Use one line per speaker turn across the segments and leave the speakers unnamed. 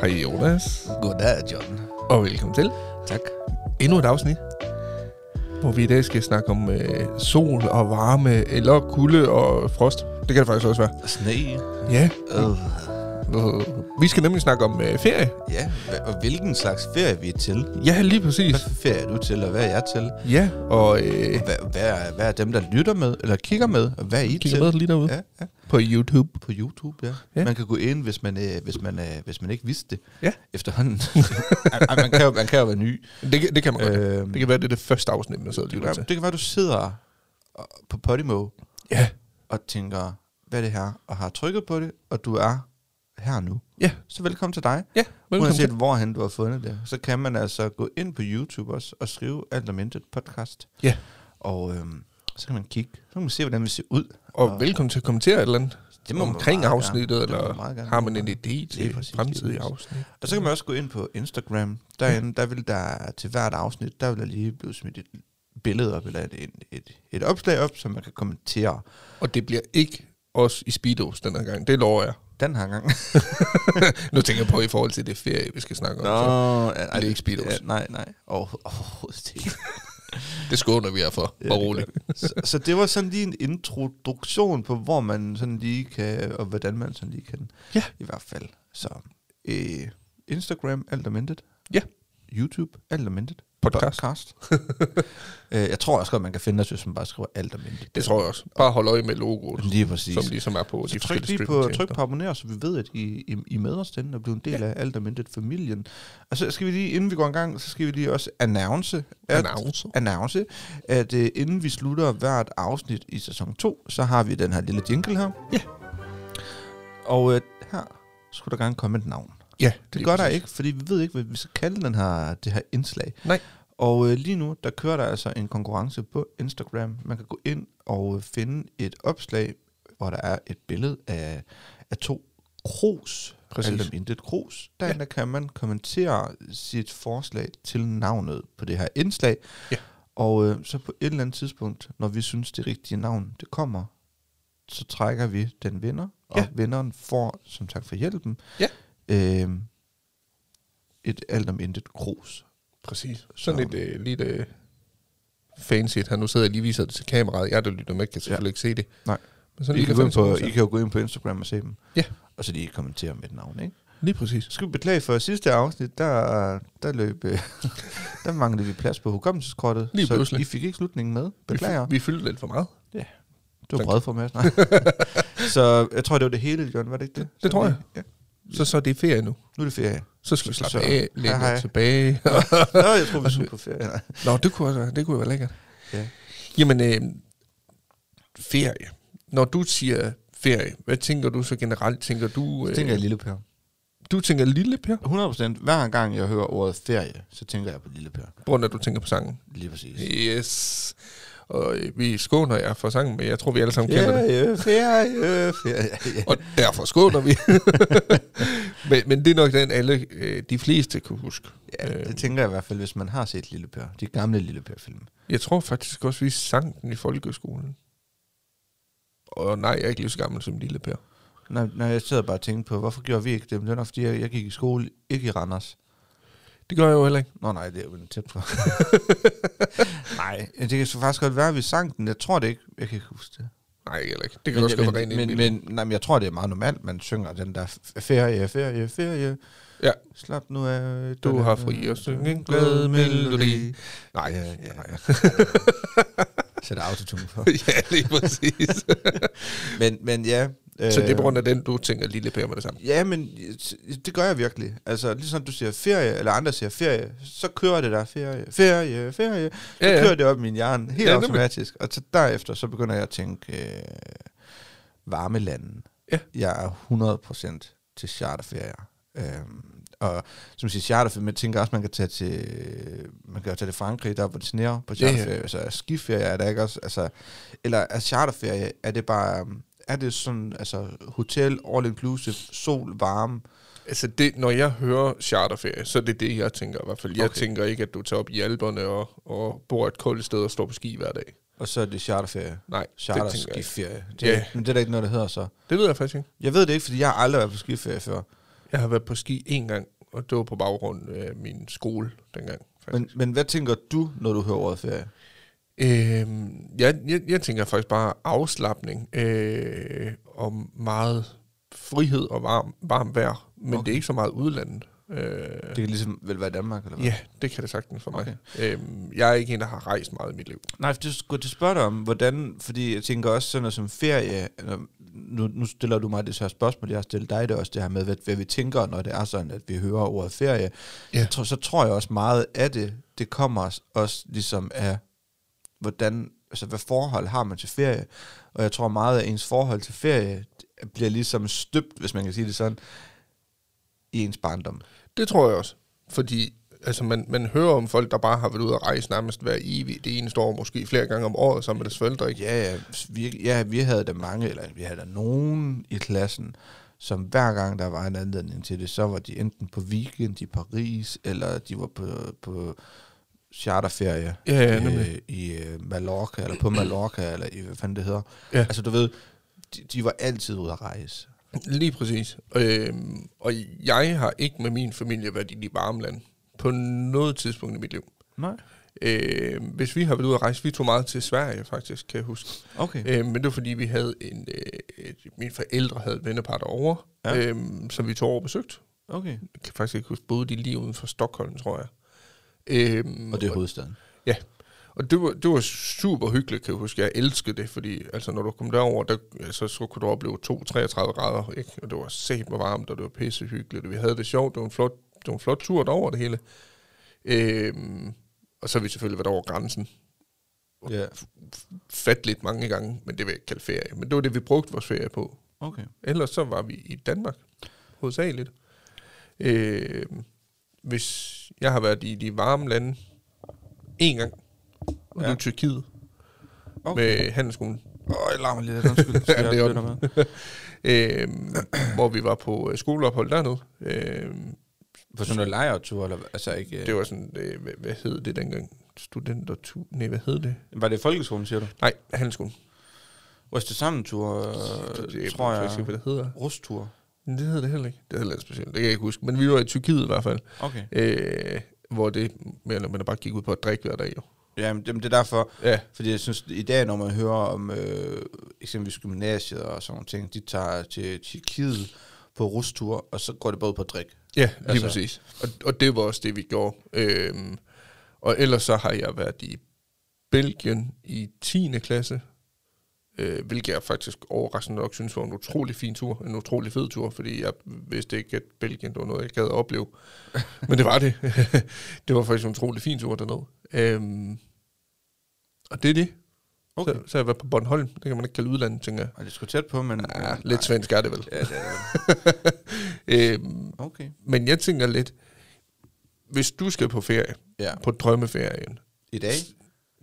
Hej Jonas,
Goddag, John.
og velkommen til
Tak.
endnu et afsnit, hvor vi i dag skal snakke om øh, sol og varme, eller kulde og frost. Det kan det faktisk også være.
Sne.
Ja,
Øh.
øh, vi skal nemlig snakke om øh, ferie.
Ja, hva- og hvilken slags ferie vi er til?
Ja, lige præcis.
Hvad for ferie er du til, og hvad er jeg til?
Ja, og øh,
Hvad, hvad, er, hvad er dem, der lytter med, eller kigger med, og hvad er I
kigger
til?
med lige derude
Ja, ja,
på YouTube.
på YouTube, ja.
Ja.
ja. Man kan gå ind, hvis man, øh, hvis man, øh, hvis man ikke vidste det
Ja.
efterhånden. Ej, ej, man, kan jo, man kan jo være ny.
Det, kan- det kan man godt. Øh,
Øhm,
det kan være, det er det første afsnit, man sidder og
det,
lytter
kan,
til.
det kan være, du sidder og- på Podimo
Ja,
og tænker, hvad er det her? Og har trykket på det, og du er her nu.
ja,
Så velkommen til dig.
ja. Velkommen
Uanset
til.
hvorhen du har fundet det, så kan man altså gå ind på YouTube også og skrive alt om intet podcast.
Ja.
Og øhm, så kan man kigge. Så kan man se, hvordan vi ser ud.
Og velkommen til at kommentere et eller andet
Det
det
må man
omkring
meget gerne.
afsnittet,
Det må
eller
man meget gerne.
har man en idé til
Lige præcis, lige
fremtidige
præcis.
afsnit?
Og så kan man også gå ind på Instagram. Derinde, der vil der til hvert afsnit, der vil der lige blive smidt et billede op, eller et, et, et, et opslag op, som man kan kommentere
Og det bliver ikke os i Speedos den her gang, det lover jeg.
den her gang.
nu tænker jeg på i forhold til det ferie, vi skal snakke om. Så
nej,
det er ikke speedos.
Ja, nej, nej. Overho- Overhovedet ikke.
det skåner vi jer for,
Ja,
bare
det
roligt.
så, så det var sådan lige en introduktion på, hvor man sådan lige kan, og hvordan man sådan lige kan,
Ja.
i hvert fald. Så øh, Instagram, alt om intet.
Ja.
YouTube, alt om intet.
Podcast.
Podcast. øh, jeg tror også godt, man kan finde os, hvis man bare skriver alt om intet.
Det tror jeg også. Bare hold øje med logoet,
Lige præcis.
som ligesom er på
så
de
tryk
forskellige
lige på,
streamingtjenester.
tryk på abonner, så vi ved, at I, I, I er med os den og bliver en del ja. af alt om intet familien. Og så skal vi lige, inden vi går i gang, så skal vi lige også announce, at,
Announce.
announce, at øh, inden vi slutter hvert afsnit i sæson 2, så har vi den her lille jingle her.
Ja.
Og øh, her skulle der gerne komme et navn.
Ja,
Det
lige
gør der
præcis.
ikke, fordi vi ved ikke, hvad vi skal kalde den her, det her indslag.
Nej.
Og øh, lige nu, der kører der altså en konkurrence på Instagram. Man kan gå ind og øh, finde et opslag, hvor der er et billede af, af to krus.
Præcis.
Alt om intet krus. Derinde ja. kan man kommentere sit forslag til navnet på det her indslag.
Ja.
Og øh, så på et eller andet tidspunkt, når vi synes, det rigtige navn det kommer, så trækker vi den vinder, og
Ja.
vinderen får, som tak for hjælpen,
Ja.
øh, et alt om intet krus.
Præcis. Sådan et øh, lille øh, fancy et her. Nu sidder jeg lige og viser det til kameraet. Jeg, der lytter med, kan selvfølgelig ikke se det.
Nej.
Men sådan
I
en lille
kan, gå ind
fancy
på,
krus her.
I kan jo gå ind på Instagram og se dem.
Ja.
Og så lige kommentere med et navn, ikke?
Lige præcis.
Så skal vi beklage for sidste afsnit, der, der løb, øh, der manglede vi plads på hukommelseskortet.
Lige
så
pludselig.
I fik ikke slutningen med. Beklager.
Vi, vi fyldte lidt for meget.
Du var
tak.
bred for mig. Nej. så jeg tror, det var det hele, Jørgen, var det ikke det?
Det tror jeg.
Ja.
Så, så er det ferie nu.
Nu er det ferie.
Så skal vi slappe
Så-
af, lægge
hej,
os
hej.
tilbage.
Nå, jeg tror, vi skulle på ferie. Nej.
Nå, det kunne, også være- det kunne jo være lækkert.
Ja.
Jamen, øh, ferie. Når du siger ferie, hvad tænker du så generelt? Tænker du,
Så
øh,
tænker jeg Lille Per.
du tænker lille, Per?
100% hver gang jeg hører ordet ferie, så tænker jeg på Lille Per.
På grund af, at du tænker på sangen.
Lige præcis.
Yes. Og øh, vi skåner jer for sangen, men jeg tror, vi alle sammen kender det.
Ferie, ferie, ferie.
Og derfor skåner vi. men, men det er nok den, alle øh, de fleste kunne huske. Øhm.
Ja, det tænker jeg i hvert fald, hvis man har set Lille Per. De gamle Lille Per-film.
Jeg tror faktisk også, vi sang den i folkeskolen. Og nej, jeg er ikke lige så gammel som lille Per.
Når, når jeg sidder bare og tænker på, hvorfor gjorde vi ikke det? Men det var nok, fordi jeg, jeg gik i skole, ikke i Randers.
Det gør jeg jo heller ikke.
Nå nej, det er jo en tæt på. nej, det kan så faktisk godt være, at vi sang den. Jeg tror det ikke. Jeg kan ikke huske det.
Nej, heller ikke. Det kan
Men,
også godt være
jeg,
rent
men, men,
indbildning.
men, nej, men jeg tror, det er meget normalt, man synger den der f- ferie, ferie, ferie.
Ja.
Slap nu af.
Du har fri og syng en glad melodi. Nej,
Ja,
ja,
ja.
nej.
Sæt autotune på.
ja, lige præcis.
Men, men ja. Øh,
så det er på grund af den, du tænker lille Per med det samme.
Ja, men øh, det gør jeg virkelig. Altså, ligesom du siger ferie, eller andre siger ferie, så kører det der ferie, ferie, ferie. Så
Ja,
ja,
ja.
ja. kører det op i min hjerne, helt
Ja,
ja,
nemlig.
automatisk. Og så derefter, så begynder jeg at tænke øh, varmelanden.
Ja.
Jeg er 100% til charterferier. Øhm, og som jeg siger, charterferie, men jeg tænker også, man kan tage til, man kan jo tage til Frankrig, der hvor det sneer på
Ja, ja.
charterferie. Ja, ja. Altså, skiferie er der ikke også, altså, eller er charterferie, er det bare, øhm, er det sådan, altså, hotel, all inclusive, sol, varme?
Altså, det, når jeg hører charterferie, så er det det, jeg tænker i hvert fald. Jeg okay.
Okay.
tænker ikke, at du tager op i alberne og, og bor et koldt sted og står på ski hver dag.
Og så er det charterferie.
Nej, det tænker jeg ikke.
Charterskiferie. Det,
Ja.
yeah. Men det er der ikke noget, der hedder så.
Det ved jeg faktisk ikke.
Jeg ved det ikke, fordi jeg har aldrig været på skiferie før.
Jeg har været på ski en gang, og det var på baggrund af min skole dengang.
Men, men hvad tænker du, når du hører ordet ferie?
Øhm, jeg, jeg, jeg tænker faktisk bare afslappning øh, og meget frihed og varm, varm vejr, men okay.
Okay.
det er ikke så meget udlandet. Øh,
Det kan ligesom vel være Danmark, eller hvad?
ja, det kan det sagtens for mig. Okay. Øhm, jeg er ikke en, der har rejst meget i mit liv.
Nej, for det skulle jeg til at spørge dig om, hvordan, fordi jeg tænker også sådan noget som ferie, eller nu, nu stiller du mig det så spørgsmål, jeg har stillet dig det også, det her med, hvad, hvad vi tænker, når det er sådan, at vi hører ordet ferie.
Ja.
Jeg tror, så tror jeg også meget af det, det kommer også, også ligesom af, hvordan, altså hvad forhold har man til ferie, og jeg tror meget af ens forhold til ferie det bliver ligesom støbt, hvis man kan sige det sådan, i ens barndom.
Det tror jeg også, fordi altså, man, man hører om folk, der bare har været ude at rejse nærmest hver evig, det eneste år, måske flere gange om året sammen med deres forældre. Ikke?
Ja, ja, vi, ja, vi havde da mange, eller vi havde da nogen i klassen, som hver gang der var en anledning til det, så var de enten på weekend i Paris, eller de var på, på charterferie
Ja, ja,
øh,
nemlig.
i øh, Mallorca, eller på Mallorca, eller i, hvad fanden det hedder.
Ja.
Altså du ved, de, de var altid ude at rejse.
Lige præcis. Øhm, og jeg har ikke med min familie været i de varme lande på noget tidspunkt i mit liv.
Nej.
Øhm, hvis vi har været ude at rejse, vi tog meget til Sverige faktisk, kan jeg huske.
Okay.
Øhm, men det var fordi, vi havde en, øh, et, mine forældre havde et vennepar derovre,
Ja.
ja. øhm, som vi tog over og besøgte.
okay.
Jeg kan faktisk ikke huske, boede de lige uden for Stockholm, tror jeg. Øhm,
Og det er hovedstaden.
Ja, og det var, det var super hyggeligt, kan jeg huske. Jeg elskede det, fordi altså, når du kom derover, der, altså, så kunne du opleve 2-33 grader, ikke? og det var sæt med varmt, og det var pisse hyggeligt, og vi havde det sjovt, det var en flot, det var en flot tur derover det hele. Øhm, og så har vi selvfølgelig været over grænsen
Ja,
fatligt mange gange, men det vil jeg ikke kalde ferie. Men det var det, vi brugte vores ferie på.
okay.
Ellers så var vi i Danmark, hovedsageligt. Øh, hvis jeg har været i de varme lande en gang, og det
Ja.
var Tyrkiet
Okay.
med handelsskolen,
Åh, jeg larmer lidt. Undskyld. Skal
Ja,
jeg
det er
også blive der med?
øh, hvor vi var på øh, skoleophold dernede. Øh,
På sådan en lejretur, eller hvad? altså ikke...
det var sådan, øh, hvad, hvad hed det dengang? Studentertur? Nej, hvad hed det?
øh, Var det folkeskolen, siger du?
Nej, handelsskolen.
Ryste sammen tur, øh, tror jeg.
ikke, hvad det hedder.
Rustur.
Men Det hedder det heller ikke. Det er heller ikke specielt. Det kan jeg ikke huske. Men vi var i Tyrkiet i hvert fald.
Okay.
Øh, hvor det mere eller mindre bare gik ud på at drikke hver dag, jo.
Jamen, det, det er derfor,
Ja,
fordi jeg synes, i dag, når man hører om øh, eksempelvis gymnasiet og sådan nogle ting, de tager til Tjekkiet på rustur, og så går det både på drik.
ja lige
Altså-
altså. præcis. Og, og det var også det, vi gjorde. Øhm, og ellers så har jeg været i Belgien i 10. klasse, øh, hvilket jeg faktisk overraskende nok synes var en utrolig fin tur, en utrolig fed tur, fordi jeg vidste ikke, at Belgien det var noget, jeg gad at opleve. Men det var det. det var faktisk en utrolig fin tur dernede. Øhm, og det er det. Okay. Så, så har jeg været på Bornholm. Det kan man ikke kalde udlandet, tænker jeg.
Og det er sgu tæt på, men...
Ja,
øh,
lidt
nej.
svensk er det vel.
Ja, det er, det.
Øhm,
okay.
men jeg tænker lidt, hvis du skal på ferie,
Ja.
på drømmeferien.
I dag?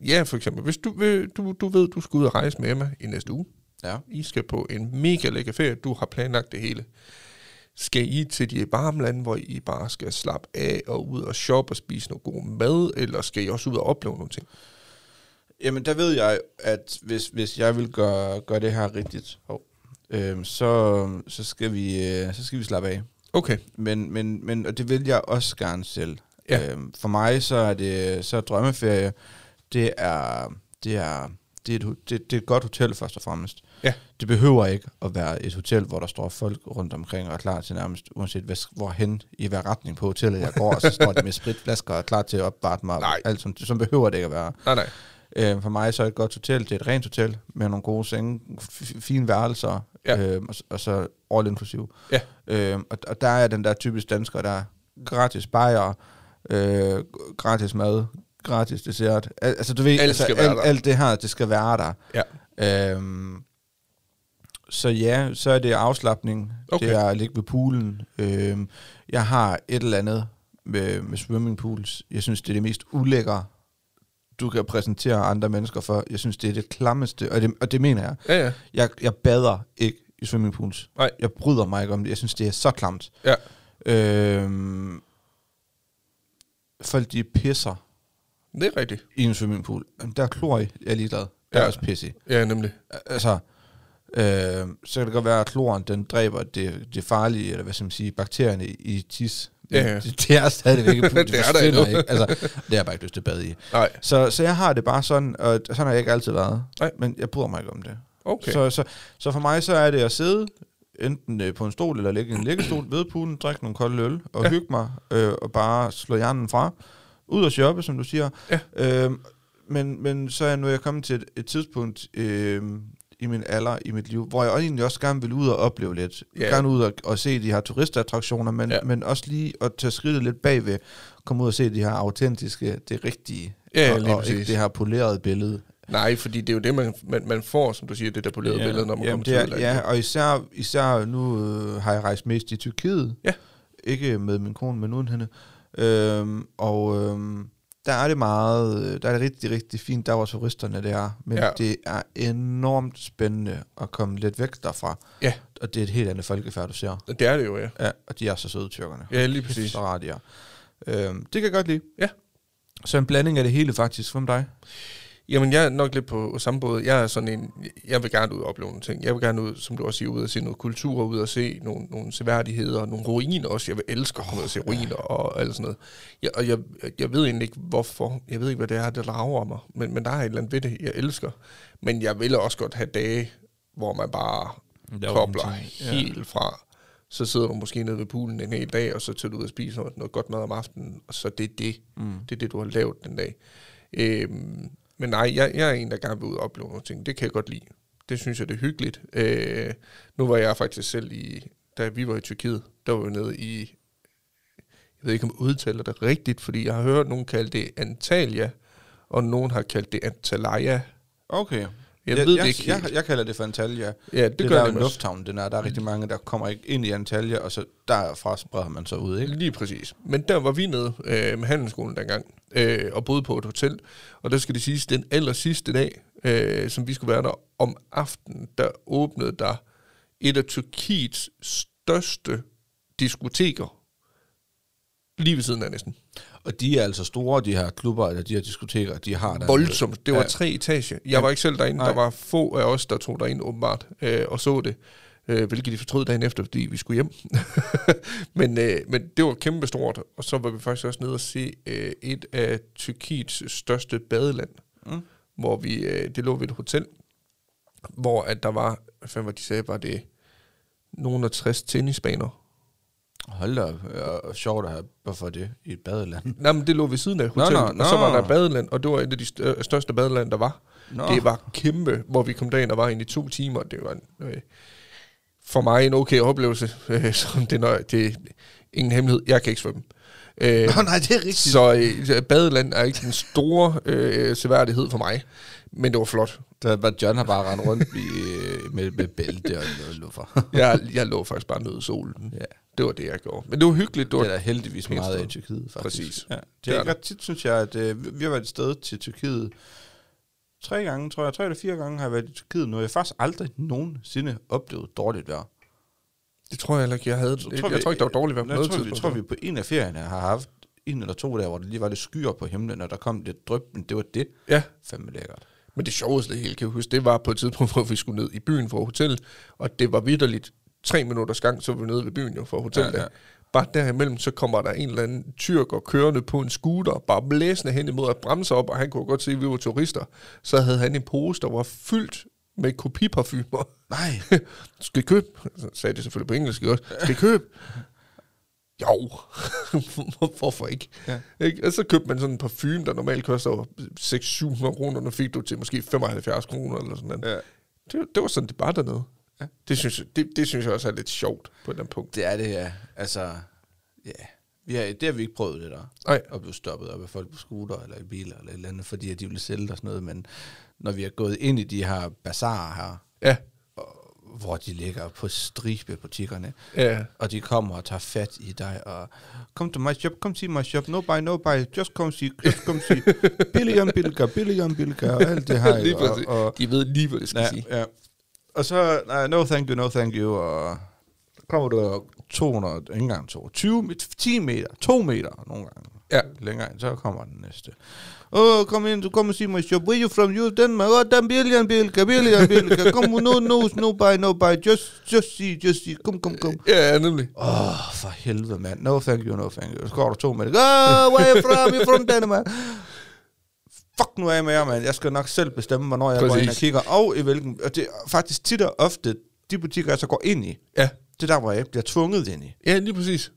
Ja, for eksempel, hvis du, vil- du, du ved, du skal ud og rejse med Emma i næste uge.
Ja.
I skal på en mega lækker ferie, du har planlagt det hele. Skal I til de varme lande, hvor I bare skal slappe af og ud og shoppe og spise noget god mad, eller skal I også ud og opleve nogle ting?
Jamen, der ved jeg, at hvis, hvis jeg vil gøre, gøre det her rigtigt, hov, øhm, så, så, skal vi, øh, så skal vi slappe af.
Okay,
Men, men, men og det vil jeg også gerne selv.
Ja.
Øhm, for mig så er det så er drømmeferie, det er, det er, det er, et, ho- det, det er et godt hotel først og fremmest.
Ja.
Det behøver ikke at være et hotel, hvor der står folk rundt omkring og er klar til nærmest, uanset hvad, hvorhen i hver retning på hotellet jeg går, og så står de med spritflasker og er klar til at opvarte mig.
Nej.
Alt, som, som behøver det ikke at være.
nej nej.
Øh, for mig så er et godt hotel, det er et rent hotel, med nogle gode senge, f- fine værelser,
Ja.
øh, og, s- og så all inclusive.
Ja.
Øh, og, og der er den der typisk dansker, der er gratis bajer, øh, gratis mad, gratis dessert. Al, altså du ved,
Alt
altså,
skal være
alt,
der.
alt det her, det skal være der.
Ja.
Øhm, så ja, så er det afslappning. Okay.
Okay.
Det er at ligge ved poolen. Øhm, jeg har et eller andet med, med swimmingpools. Jeg synes, det er det mest ulækre, du kan præsentere andre mennesker for. Jeg synes, det er det klammeste, og det, og det mener jeg.
Ja, ja.
Jeg, jeg bader ikke i swimmingpools.
Nej.
Jeg bryder mig ikke om det. Jeg synes, det er så klamt.
Ja.
Øhm, folk, de pisser
Det er rigtigt.
i en swimmingpool. Der er klor i. Jeg er ligeglad. Der er
Ja.
også pisse i.
Ja, nemlig.
Altså, Øh, så kan det godt være, at kloren den dræber det, det farlige, eller hvad skal man sige, bakterierne i tis. Men
Ja, ja.
Det, det er stadigvæk ikke, det,
Det er der
forsvinder
endnu.
ikke. Altså, det har jeg bare ikke lyst til at bade i.
Nej,
Så, så jeg har det bare sådan, og sådan har jeg ikke altid været.
Nej.
Men jeg bryder mig ikke om det.
okay. Så,
Så, så, så for mig så er det at sidde enten øh, på en stol eller ligge i en liggestol ved poolen, drikke nogle kolde øl
Ja.
og ja. hygge mig øh, og bare slå hjernen fra. Ud og shoppe, som du siger.
Ja.
Øhm, men, men så er nu er jeg kommet til et, et tidspunkt øh, i min alder, i mit liv, hvor jeg egentlig også gerne vil ud og opleve lidt.
Ja.
Ja. Gerne ud og, og se de her turistattraktioner, men,
Ja.
ja. men også lige at tage skridtet lidt bagved. Komme ud og se de her autentiske, det rigtige.
Ja, lige
og, og ikke
præcis.
det her polerede billede.
nej, fordi det er jo det, man, man, man får, som du siger, det der polerede ja. billede, når man
Jamen,
kommer
det
til
er-
udlandet.
Ja, og især, især nu øh, har jeg rejst mest i Tyrkiet.
Ja.
Ikke med min kone, men uden hende. Øhm, og øhm, der er det meget, øh, der er det rigtig, rigtig fint, der var turisterne der, men
Ja.
ja. det er enormt spændende at komme lidt væk derfra.
Ja.
Og det er et helt andet folkefærd, du ser.
Det er det jo, ja.
Ja, og de er så søde, tyrkerne.
Ja, lige præcis.
Så rart, de er. Øhm, det kan jeg godt lide.
Ja.
Så en blanding af det hele faktisk. Hvem dig?
Jamen, jeg er nok lidt på samme båd. Jeg er sådan en, jeg vil gerne ud og opleve nogle ting. Jeg vil gerne ud, som du også siger, ud og se noget kultur, ud og se nogle, nogle seværdigheder, nogle ruiner også. Jeg vil elske at komme ud og se ruiner og alt sådan noget. Jeg, og jeg, jeg ved egentlig ikke, hvorfor. Jeg ved ikke, hvad det er, der drager mig. Men, men der er et eller andet ved det, jeg elsker. Men jeg vil også godt have dage, hvor man bare
Laver
kobler
ingenting. Ja.
helt fra. Så sidder du måske nede ved poolen en hel dag, og så tager du ud og spiser noget, noget godt mad om aftenen, og så det er det. Mm. Det er det, du har lavet den dag. Øhm, men nej, jeg, jeg er en, der gerne vil ud og opleve nogle ting. Det kan jeg godt lide. Det synes jeg, det er hyggeligt. Øh, nu var jeg faktisk selv i, da vi var i Tyrkiet, der var vi nede i, jeg ved ikke om jeg udtaler det rigtigt, fordi jeg har hørt nogen kalde det Antalya, og nogen har kaldt det Antalya.
Okay.
Jeg ved det
jeg,
ikke
jeg,
helt.
jeg kalder det for Antalya.
Ja, det,
det, det
gør
der
jeg
er jo en
nemlig også. Mm.
lufthavn, den er. Der er rigtig mange, der kommer ikke ind i Antalya, og så derfra spreder man så ud, ikke?
Lige præcis. Men der var vi nede øh, med handelsskolen dengang, øh, og boede på et hotel. Og der skal det siges, den aller sidste dag, øh, som vi skulle være der om aftenen, der åbnede der et af Tyrkiets største diskoteker. Lige ved siden af næsten.
Og de er altså store, de her klubber, eller de her diskoteker, de har der.
Voldsomt. Det var
Ja.
tre etager. Jeg var ikke selv derinde. Der
Nej.
var få af os, der tog derind åbenbart øh, og så det. Øh, hvilket de fortrød dagen efter, fordi vi skulle hjem. men, øh, men det var kæmpe stort. Og så var vi faktisk også nede og se øh, et af Tyrkiets største badeland.
Mm.
Hvor vi, øh, det lå ved et hotel, hvor at der var, hvad fanden var de sagde, var det nogen af 60 tennisbaner.
Hold da op, og- og sjovt at have, hvorfor det, i et badeland.
Nej, men det lå ved siden af hotellet,
nå,
og så var
nå.
der badeland, og det var et af de stør- største badeland, der var.
Nå.
Det var kæmpe, hvor vi kom derind og var inde i to timer. Det var en, øh, for mig en okay oplevelse, øh, som det, nøj, det er ingen hemmelighed. Jeg kan ikke svømme. Øh,
Nå, nej, det er rigtigt.
så øh, så badeland er ikke den store øh, seværdighed for mig, men det var flot.
Der, var- John har bare rendt rundt i, øh, med, med bælte og noget luffer.
Jeg, jeg lå faktisk bare nede i solen.
Ja.
Det var det, jeg gjorde. Men det var hyggeligt. Det
Det er
var,
der heldigvis
Pænt
meget af i
sted.
Tyrkiet, faktisk.
Præcis.
Ja.
Det
Det
er
er ikke ret tit, synes jeg, at øh, vi- vi har været et sted til Tyrkiet tre gange, tror jeg. Tre eller fire gange har jeg været i Tyrkiet nu. Jeg har faktisk aldrig nogensinde oplevet dårligt vejr.
det tror jeg heller ikke, jeg havde.
Så
Jeg, jeg, tror ikke, der var dårligt vejr på
jeg
noget
tror, vi-
tidspunkt.
Jeg tror, vi på en af ferierne har haft en eller to dage, hvor der lige var lidt skyer på himlen, og der kom lidt dryp, men det var det.
Ja.
Fandme lækkert.
Men det sjoveste af det hele, kan jeg huske, det var på et tidspunkt, hvor vi skulle ned i byen fra hotellet, og det var vidderligt tre minutters gang, så var vi nede ved byen jo fra hotellet. Ja,
Ja,
ja.
ja.
Bare derimellem, så kommer der en eller anden tyrker kørende på en scooter, bare blæsende hen imod at bremse op, og han kunne godt se, at vi var turister. Så havde han en pose, der var fyldt med kopiparfumer.
Nej.
skal I købe? Så sagde det selvfølgelig på engelsk også. Skal I købe? Jo, Hvor- hvorfor ikke? Ja.
Ja.
ikke? Og så købte man sådan en parfume, der normalt koster 600-700 kroner, nu fik du til måske 75 kroner eller sådan noget. Ja.
Ja.
Det, det, var sådan, det var dernede. Ja.
Ja.
Det, synes, jeg- det, det synes jeg også er lidt sjovt på et eller andet punkt.
Det er det, ja. Altså, ja. Vi har, det har vi ikke prøvet det der.
Nej.
At blive stoppet op af folk på scooter eller i biler eller et eller andet, fordi at de ville sælge dig sådan noget. Men når vi er gået ind i de her bazarer her,
Ja,
og- hvor de ligger på stribe butikkerne,
ja.
og de kommer og tager fat i dig, og kom til my shop, kom til my shop, no buy, no buy, just come see, just come see, billion bilka, billion bilka, og alt det her.
Lige
ikke?
præcis.
og, og,
De ved lige, hvad det skal ja.
ja,
sige.
ja. og så, nej, no thank you, no thank you, og kommer du 200, ikke engang 22, 10 meter, 2 meter nogle gange.
Ja.
Længere ind, så kommer den næste. Åh, oh, kom ind, du kommer og sig mig, jeg you from you, Denmark, åh, oh, den billion, bilka, billion, bilka, kom, no, no, no, buy, no, buy, just, just see, just see, kom, kom, kom.
Ja, nemlig.
Åh, oh, for helvede, mand. No thank you, no thank you. Så går der to med det. Åh, where you from? You're from Denmark. Fuck nu af med jer, mand. Jeg skal nok selv bestemme, hvornår jeg Præcis. går ind og
Præcis.
kigger, og i hvilken... Og det er faktisk tit og ofte, de butikker, jeg så går ind i,
Ja,
det er der, hvor jeg bliver tvunget ind i.
ja lige præcis.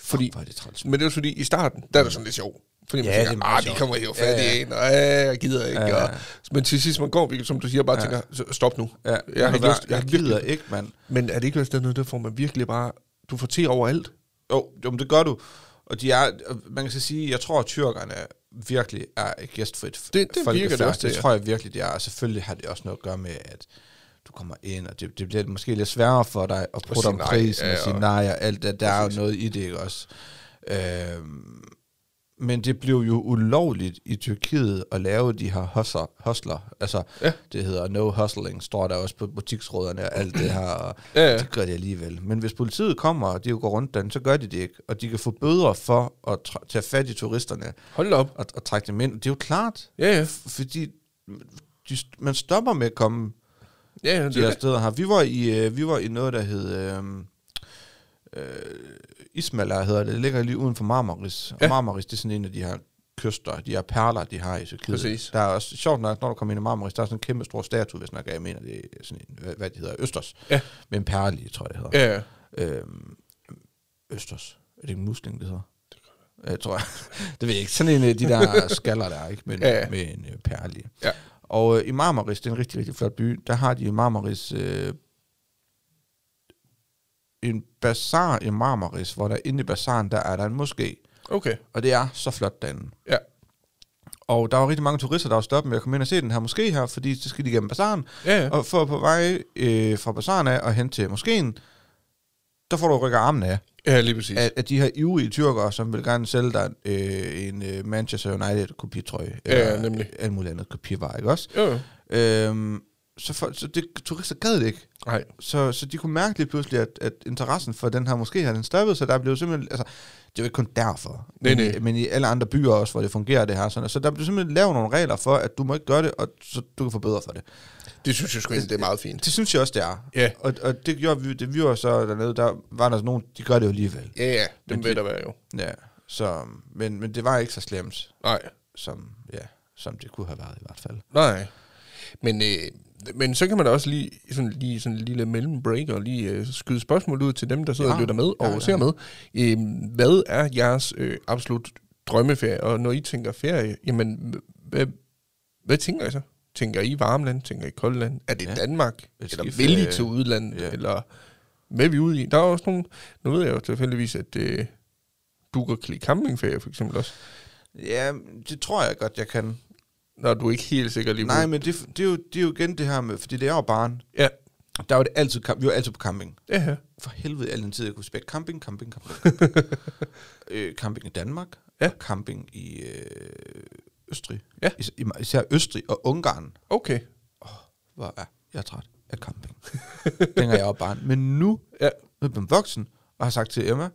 Fordi,
Fuck, hvor er det træls.
men det er jo fordi, i starten, der er det sådan lidt sjovt. Fordi man ja,
Ja, det er
tænker,
meget
ah, de
sjovt."
kommer jo
Ja,
fat
ja.
i en, og "Ah, jeg gider ikke.
Ja, ja.
Og, men til sidst, man går virkelig, som du siger, bare tænker, "Så stop nu.
Ja,
jeg, har ikke lyst, jeg,
jeg
har virkelig-
gider ikke, mand.
Men er det ikke også dernede, der får man virkelig bare, du får te overalt?
Jo, jo, men det gør du. Og de er, man kan så sige, jeg tror, at tyrkerne virkelig er et gæstfrit
Det- det
folkefærd.
virker det også til,
Det
ja.
tror jeg virkelig, det er. Og selvfølgelig har det også noget at gøre med, at du kommer ind, og det, det bliver måske lidt sværere for dig at prøve
sige
om
nej,
prisen
ja,
og sige
og-
nej og alt det. Der er jo noget i det, ikke også? Øhm, men det blev jo ulovligt i Tyrkiet at lave de her hustler. hustler. Altså,
Ja.
det hedder no hustling, står der også på butiksråderne og alt det her. Og
Ja, ja.
Det gør de alligevel. Men hvis politiet kommer, og de jo går rundt den, så gør de det ikke. Og de kan få bøder for at tra- tage fat i turisterne
Hold da op.
og, og trække dem ind. Det er jo klart,
Ja, ja.
f- fordi de, st- man stopper med at komme
Ja, ja, det
de
er
her
det.
steder her. Vi var i, øh, vi var i noget, der hed... Øh, øh, Ismala hedder det. Det ligger lige uden for Marmaris. Og
Ja.
Marmaris, det er sådan en af de her kyster, de her perler, de har i Tyrkiet.
Præcis.
Der er også sjovt nok, når du kommer ind i Marmaris, der er sådan en kæmpe stor statue, hvis nok jeg mener, det er sådan en, hvad, hvad det hedder, Østers.
Ja.
Med en perle, i, tror jeg, det hedder.
Ja, ja.
Øhm, Østers. Er det ikke en musling, det hedder? Jeg tror jeg. Det ved jeg ikke. Sådan en af de der skaller der, ikke? Men,
Ja, ja.
med en øh, perle. i.
Ja.
Og øh, i Marmaris, det er en rigtig, rigtig flot by, der har de i Marmaris øh, en bazar i Marmaris, hvor der inde i bazaren, der er der en moské.
Okay.
Og det er så flot derinde.
Ja.
Og der var rigtig mange turister, der var stoppet med at komme ind og se den her moské her, fordi så skal de gennem bazaren.
Ja, ja.
Og for på vej øh, fra bazaren af og hen til moskeen, der får du rykket armen af
Ja, lige præcis.
af, af de her ivrige tyrkere, som vil gerne sælge dig øh, en øh, Manchester United kopitrøje.
Ja, ja, nemlig.
Alt muligt andet kopivarer, ikke også?
Jo, jo.
Øhm, så, for, så det, turister gad det ikke.
Nej.
Så, så de kunne mærke lige pludselig, at, at interessen for den her måske har den stoppet, så der blev simpelthen, altså, det var ikke kun derfor,
Nej,
men,
nej.
I, men i alle andre byer også, hvor det fungerer det her, sådan, så der blev simpelthen lavet nogle regler for, at du må ikke gøre det, og så du kan få bedre for det.
Det synes jeg sgu egentlig, det er meget fint.
Det synes jeg også, det er.
Ja.
Og, og det gjorde vi, det vi var så dernede, der var der nogen, de gør det jo alligevel.
Ja, ja. Dem
Men
vil
det-
der være jo.
Ja, så, men, men det var ikke så slemt,
Nej.
som, ja, som det kunne have været i hvert fald.
Nej. Men, øh, men så kan man da også lige sådan, lige sådan en lille mellembreak og lige øh, skyde spørgsmål ud til dem, der sidder
Ja.
og lytter med og
Ja, ja.
ser med. Øh, hvad er jeres øh, absolut drømmeferie? Og når I tænker ferie, jamen, hvad, hvad tænker I så? Tænker I varmland? Tænker I koldland? Er det
Ja.
ja. Danmark?
Et
Eller
skiferie.
vil I til udlandet?
Ja.
Ja. Eller hvad er vi ude i? Der er også nogle... Nu ved jeg jo tilfældigvis, at øh, du kan klikke campingferie for eksempel også,
Ja, det tror jeg godt, jeg kan.
når du er ikke helt sikker lige
Nej, men det, det, er jo, det er jo igen det her med, fordi det er jo barn.
Ja,
Der var det altid, kamp- vi var altid på camping.
det her.
For helvede, al den tid, jeg kunne spække camping, camping, camping. camping. øh, camping i Danmark,
Ja.
og camping i øh, Østrig.
Ja.
Is- i- Især Østrig og Ungarn.
Okay.
Hvor er jeg er træt af camping. Dengang jeg var barn. Men nu,
Ja.
nu er jeg blevet voksen, og har sagt til Emma,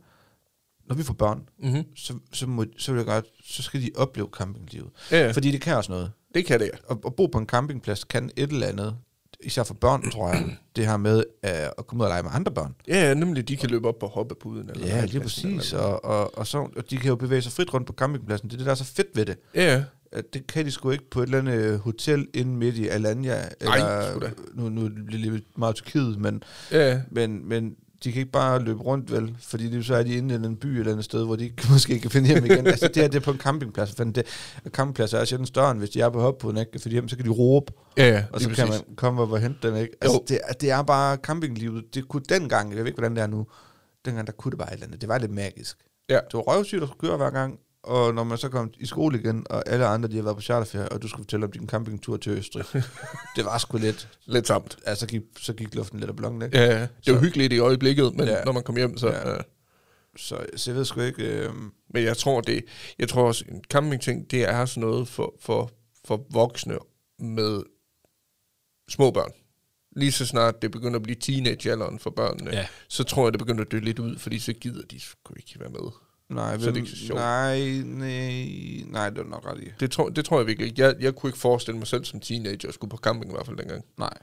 når vi får børn,
Mm-hmm.
så, så, må, så, vil jeg godt, så skal de opleve campinglivet.
Ja, ja.
Ja. Fordi det kan også noget.
det kan det, ja.
At, at bo på en campingplads kan et eller andet, især for børn, tror jeg, det her med øh, at komme ud og lege med andre børn.
Ja, ja, nemlig, de kan løbe op på hoppepuden. Eller
Ja, lige præcis. Og, og, og, så, og de kan jo bevæge sig frit rundt på campingpladsen. Det er det, der er så fedt ved det.
Ja, ja.
At det kan de sgu ikke på et eller andet øh, hotel inde midt i Alanya.
sgu da.
nu, nu bliver det lidt meget Tyrkiet, men,
ja, ja.
men, men de kan ikke bare løbe rundt, vel? Fordi det, så er de inde i en eller anden by eller et eller andet sted, hvor de ikke, måske ikke kan finde hjem igen. altså, det her det er på en campingplads. Men det, campingpladser er sjældent større, end hvis de er på hoppuden, ikke? Fordi hjem, så kan de råbe,
ja, ja
og så kan man komme op og hente den, ikke? Altså,
Jo.
det, er- det er bare campinglivet. Det kunne dengang, jeg ved ikke, hvordan det er nu, dengang der kunne det bare et eller andet. Det var lidt magisk.
Ja.
Det var røvsygt at skulle køre hver gang, og når man så kom i skole igen, og alle andre, de har været på charterferie, og du skulle fortælle om din campingtur til Østrig. det var sgu lidt.
Lidt samt.
Altså, så gik, så gik luften lidt af blokken, ikke?
Ja, ja. det var
Så-
hyggeligt i øjeblikket, men
Ja.
ja. når man kom hjem, så...
Ja.
Ja.
Så, så jeg ved sgu ikke... Øh,
Men jeg tror, det, jeg tror også, en campingting, det er sådan noget for, for, for voksne med små børn. lige så snart det begynder at blive teenagealderen for børnene,
Ja.
så tror jeg, det begynder at dø lidt ud, fordi så gider de sgu ikke være med.
Nej,
Så er det ikke så sjovt.
Nej, nej, nej, det er du nok ret i.
Det tror, det tror jeg virkelig ikke. Jeg, jeg kunne ikke forestille mig selv som teenager at skulle på camping i hvert fald dengang.
Nej.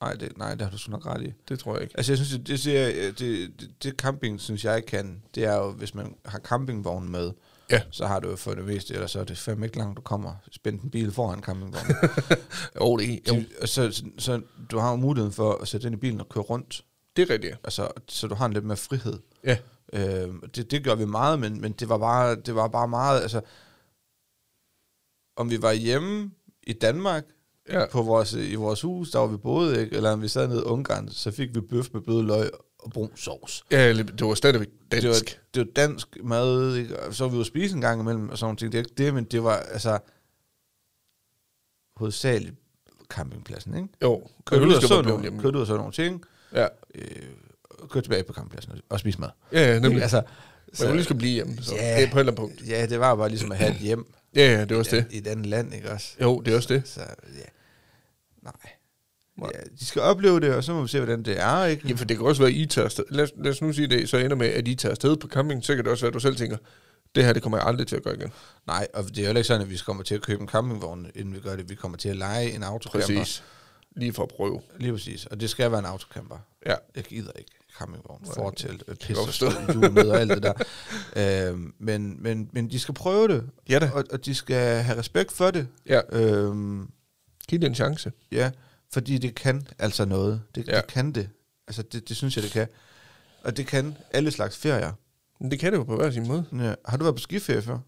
Nej, det, nej, det har du sgu nok ret i.
Det tror jeg ikke.
Altså, jeg synes, det, det, siger, jeg- det, det, det camping, synes jeg kan, det er jo, hvis man har campingvogn med,
Ja.
så har du jo fået det meste, eller så er det fandme ikke langt, du kommer. Spænd en bil foran campingvognen.
Jo, det er, jo,
Og så, så, så, du har jo muligheden for at sætte den i bilen og køre rundt,
det er rigtigt.
altså, så du har en lidt mere frihed.
Ja.
Øh, det, det gør vi meget, men, men det, var bare, det var bare meget, altså, om vi var hjemme i Danmark,
Ja.
på vores, i vores hus, der var vi boede, ikke? eller om vi sad nede i Ungarn, så fik vi bøf med bløde løg og brun sovs.
ja, det var stadigvæk dansk.
Det var, det var dansk mad, ikke? og så var vi ude at spise en gang imellem, og sådan nogle ting. Det er ikke det, men det var altså hovedsageligt campingpladsen, ikke?
jo,
Kørte ud og så
blevet
nogle, kørte ud og så nogle ting,
Ja.
øh, kørte tilbage på campingpladsen og- og spiste mad.
ja, nemlig.
Ikke?
Altså,
Altså,
så, man ville skulle blive hjemme, så.
Ja.
Yeah. Ja, på et eller andet punkt.
ja, det var bare ligesom at have et hjem
Ja, ja, det var
i
også
et,
det.
i et andet land, ikke også?
Jo, det er også det.
Så, ja. Nej.
Nej.
Ja, de skal opleve det, og så må vi se, hvordan det er, ikke?
Ja, for det kan også være, at I tager afsted. Lad, os- lad os nu sige det, så ender med, at I tager afsted på camping, så kan det også være, at du selv tænker, det her, det kommer jeg aldrig til at gøre igen.
Nej, og det er jo heller ikke sådan, at vi kommer til at købe en campingvogn, inden vi gør det. Vi kommer til at lege en autocamper.
Præcis. Lige for at prøve.
Lige præcis. Og det skal være en autocamper.
Ja.
Jeg gider ikke campingvogn,
Nej,
fortelt, øh,
jeg godt
pisse,
forstå.
julemøder og alt det der. øhm, men, men, men de skal prøve det,
Ja da.
og, og de skal have respekt for det.
Ja,
Øhm,
giv det en chance.
ja, fordi det kan altså noget. Det, ja.
Ja.
det kan det. Altså, det, det synes jeg, det kan. Og det kan alle slags ferier.
Men det kan det jo på hver sin måde.
Ja. Har du været på skiferie før?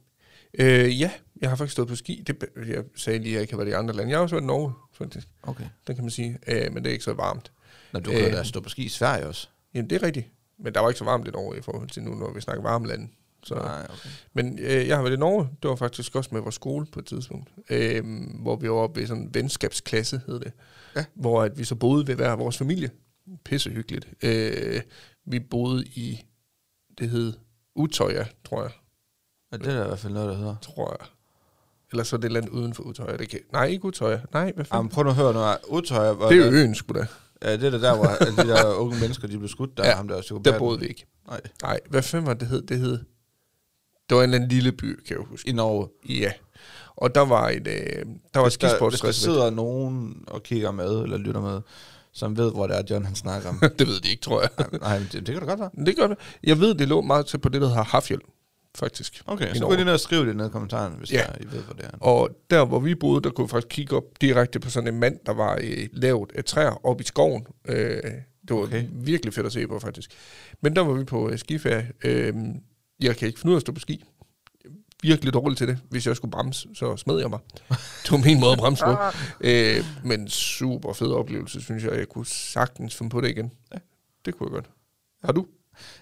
Øh, ja, jeg har faktisk stået på ski. Det, jeg sagde lige, at jeg ikke har været i andre lande. Jeg har også været i Norge, faktisk.
Okay.
Den kan man sige. Øh, men det er ikke så varmt.
Nå, du kan øh.
Øh.
da stå på ski i Sverige også.
Jamen, det er rigtigt. Men der var ikke så varmt i Norge i forhold til nu, når vi snakker varme lande. Så.
Nej, okay.
Men øh, jeg har været i Norge. Det var faktisk også med vores skole på et tidspunkt. Øh, hvor vi var oppe ved sådan en venskabsklasse, hed det.
Ja.
Hvor at vi så boede ved hver vores familie. Pissehyggeligt. Øh, vi boede i, det hed Utøya, tror jeg.
Ja, det er der i hvert fald noget, der hedder.
Tror jeg. Eller så er det land uden for Utøya. Det kan... Nej, ikke Utøya. Nej, hvad
Jamen,
fanden?
prøv nu at høre noget. Utøjer, hvor
det er jo øen, sgu da.
Ja, det er der, der hvor alle de der unge mennesker, de blev skudt, der ja,
Ja,
ham der psykopaten.
Der boede vi ikke.
Nej,
Nej, hvad fanden var det hed? Det hed... Det var en eller anden lille by, kan jeg huske.
i Norge.
Ja. Og der var et, øh, der var et
Hvis der, hvis der
skisportsreservat.
sidder nogen og kigger med, eller lytter med, som ved, hvor det er, John han snakker om.
det ved de ikke, tror jeg.
Nej, men det, det kan du godt være.
Men det gør det. Jeg ved, det lå meget til på det, der hedder Hafjell, faktisk.
Okay,
I
så gå
Norge.
lige ned og skriv det ned i kommentaren, hvis ja.
Ja.
der, I ved, hvor det er.
Og der, hvor vi boede, der kunne vi faktisk kigge op direkte på sådan en mand, der var øh, lavet af træer op i skoven. Øh, det var
Okay.
okay. virkelig fedt at se på, faktisk. Men der var vi på øh, skiferie. Øh, jeg kan ikke finde ud af at stå på ski. Virkelig dårlig til det. Hvis jeg skulle bremse, så smed jeg mig. Det var min måde at bremse på. Øh, men super fed oplevelse, synes jeg. Jeg kunne sagtens finde på det igen. Ja, det kunne jeg godt. Har du?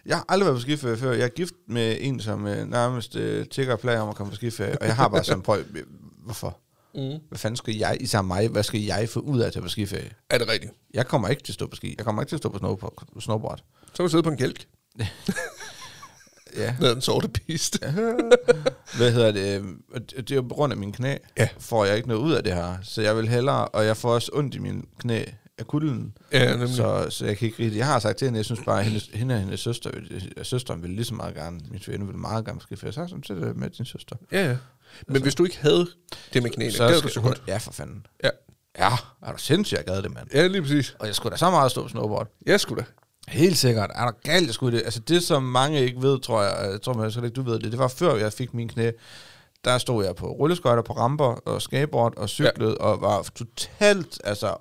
Jeg har aldrig været på skiferie før. Jeg er gift med en, som øh, nærmest øh, tigger og plager om at komme på skiferie, og jeg har bare sådan, prøv, øh, hvorfor?
Mm.
Hvad fanden skal jeg, især mig, hvad skal jeg få ud af at tage på skiferie?
Er det rigtigt?
Jeg kommer ikke til at stå på ski. Jeg kommer ikke til at stå på snowboard. snowboard.
Så har du siddet på en kælk.
Ja.
Ned ad en sorte piste. Ja.
Hvad hedder det? Øh, Og det det er jo på grund af mine knæ,
Ja.
får jeg ikke noget ud af det her. Så jeg vil hellere, og jeg får også ondt i mine knæ af kulden.
Ja, nemlig.
Så, så jeg kan ikke rigtig... Jeg har sagt til hende, jeg synes bare, at hendes, hende og hendes søster, vil- søsteren ville lige så meget gerne, min svigerinde ville meget gerne måske, for jeg sagde sådan til det med din søster.
Ja, ja. Men
Altså-
hvis du ikke havde det med knæene, så, det havde du
skal
så
hun-
godt.
Ja, for fanden.
Ja.
Ja, er du sindssygt, jeg gad det, mand.
ja, lige præcis.
Og jeg skulle da så meget stå på snowboard.
Jeg skulle da.
Helt sikkert. Er der galt, jeg skulle det? Altså det, som mange ikke ved, tror jeg, og jeg tror man slet ikke, du ved det, det var før jeg fik min knæ. Der stod jeg på rulleskøjter, på ramper og skateboard og cyklede, ja. og var totalt altså,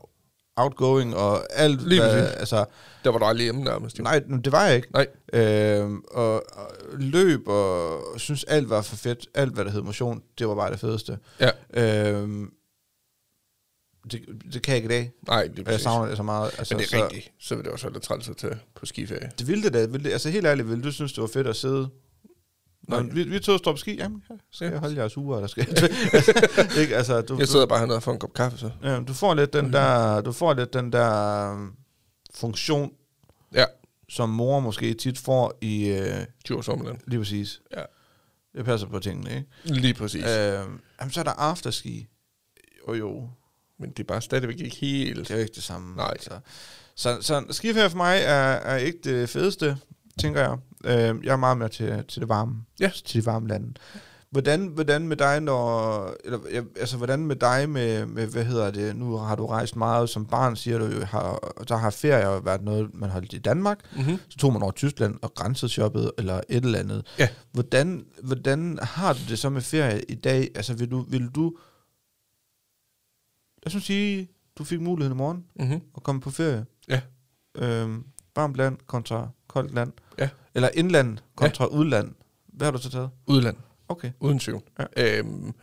outgoing og alt.
Lige
hvad-
præcis.
altså,
Der var du aldrig hjemme nærmest. jo.
nej, nu, det var jeg ikke.
Nej.
Øhm, og, og, løb og synes alt var for fedt. Alt, hvad der hed motion, det var bare det fedeste.
Ja.
Øhm, det, det kan jeg ikke i dag.
Nej, lige
og Jeg
præcis.
savner det så meget. Altså,
Men det er
så,
rigtigt. Så vil det også være lidt træls at tage på skiferie.
Det ville det da. Ville det, altså helt ærligt, ville du synes, det var fedt at sidde... Nå,
Nej.
vi, vi tog og står på ski. Jamen, ja, skal
Ja.
jeg holde jeres uger, eller skal jeg... ikke, altså, du,
Jeg sidder Mhm. bare hernede og får en kop kaffe, så.
du, ja, du, får lidt den der, du får lidt den der øhm, funktion,
Ja,
som mor måske tit får i... Øh,
Djurs Omland.
lige præcis.
Ja.
Jeg passer på tingene, ikke?
Lige præcis.
Øhm, jamen, så er der afterski. Jo, jo.
Men det er bare stadigvæk ikke helt...
Det er jo ikke det samme.
Nej.
Så, så, så skiferie for mig er, er ikke det fedeste, tænker jeg. Øh, jeg er meget mere til, til det varme.
Ja.
Til de varme lande. Hvordan, hvordan med dig, når... Eller, ja, altså, hvordan med dig med, med, hvad hedder det, nu har du rejst meget som barn, siger du jo, har, der har ferie været noget, man holdt i Danmark,
Mm-hmm.
så tog man over Tyskland og grænseshoppede, eller et eller andet.
Ja.
Hvordan, hvordan har du det så med ferie i dag? Altså, vil du... Vil du jeg synes sige, du fik muligheden i morgen
Mm-hmm.
at komme på ferie.
Ja.
Øhm, varmt land kontra koldt land.
Ja.
Eller indland kontra ja. udland. Hvad har du så taget?
Udland.
Okay.
Uden tvivl.
Ja.
Øhm,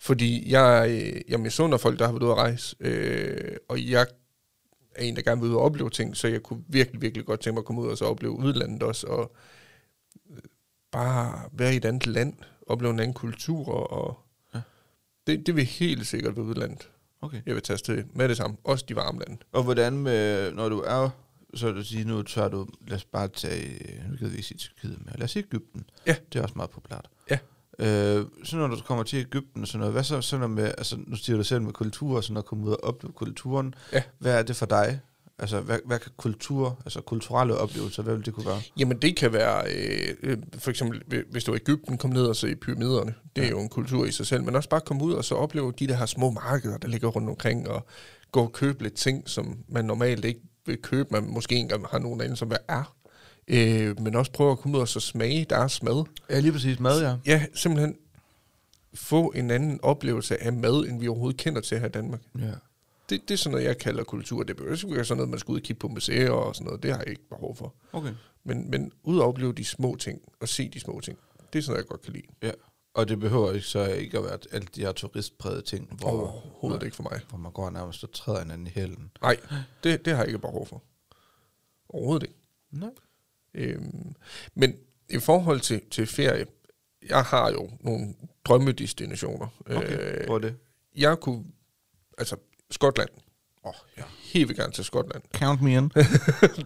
fordi jeg, øh, jeg misunder folk, der har været ude at rejse, øh, og jeg er en, der gerne vil ud og opleve ting, så jeg kunne virkelig, virkelig godt tænke mig at komme ud og så opleve udlandet også, og øh, bare være i et andet land, opleve en anden kultur, og
Ja.
ja. det, det vil helt sikkert være udlandet.
okay.
Jeg vil tage afsted med det samme, også de varme lande.
Og hvordan med, når du er, så vil du sige, nu tør du, lad os bare tage, nu kan vi ikke sige Tyrkiet mere, lad os sige Ægypten.
Ja.
Det er også meget populært.
Ja.
Øh, så når du kommer til Ægypten og sådan noget, hvad så sådan noget med, altså nu siger du selv med kultur, og sådan at komme ud og opleve kulturen.
Ja.
Hvad er det for dig? Altså, hvad, hvad kan kultur, altså kulturelle oplevelser, hvad vil det kunne være?
Jamen det kan være, øh, øh, for eksempel hvi- hvis du er i Ægypten, kom ned og se pyramiderne. Det er
Ja.
jo en kultur i sig selv, men også bare komme ud og så opleve de der her små markeder, der ligger rundt omkring, og gå og købe lidt ting, som man normalt ikke vil købe, man måske ikke engang har nogen anelse som hvad er. Øh, men også prøve at komme ud og så smage deres mad.
Ja, lige præcis mad, ja.
Ja, simpelthen få en anden oplevelse af mad, end vi overhovedet kender til her i Danmark.
Ja.
Det, det er sådan noget, jeg kalder kultur. Det behøver ikke at være sådan noget, man skal ud og kigge på museer og sådan noget. Det har jeg ikke behov for.
Okay.
Men, men ud at opleve de små ting, og se de små ting, det er sådan noget, jeg godt kan lide.
Ja, og det behøver ikke så ikke at være alle de her turistprægede ting, hvor,
Overhovedet ikke for mig.
hvor man går nærmest og træder hinanden i hælen.
Nej, det, det har jeg ikke behov for. Overhovedet ikke.
Nej.
Øhm, men i forhold til, til ferie, jeg har jo nogle drømmedestinationer.
Okay, øh, hvor er det?
jeg kunne, altså Skotland. Åh, oh, jeg vil helt vil gerne til Skotland.
Count me in.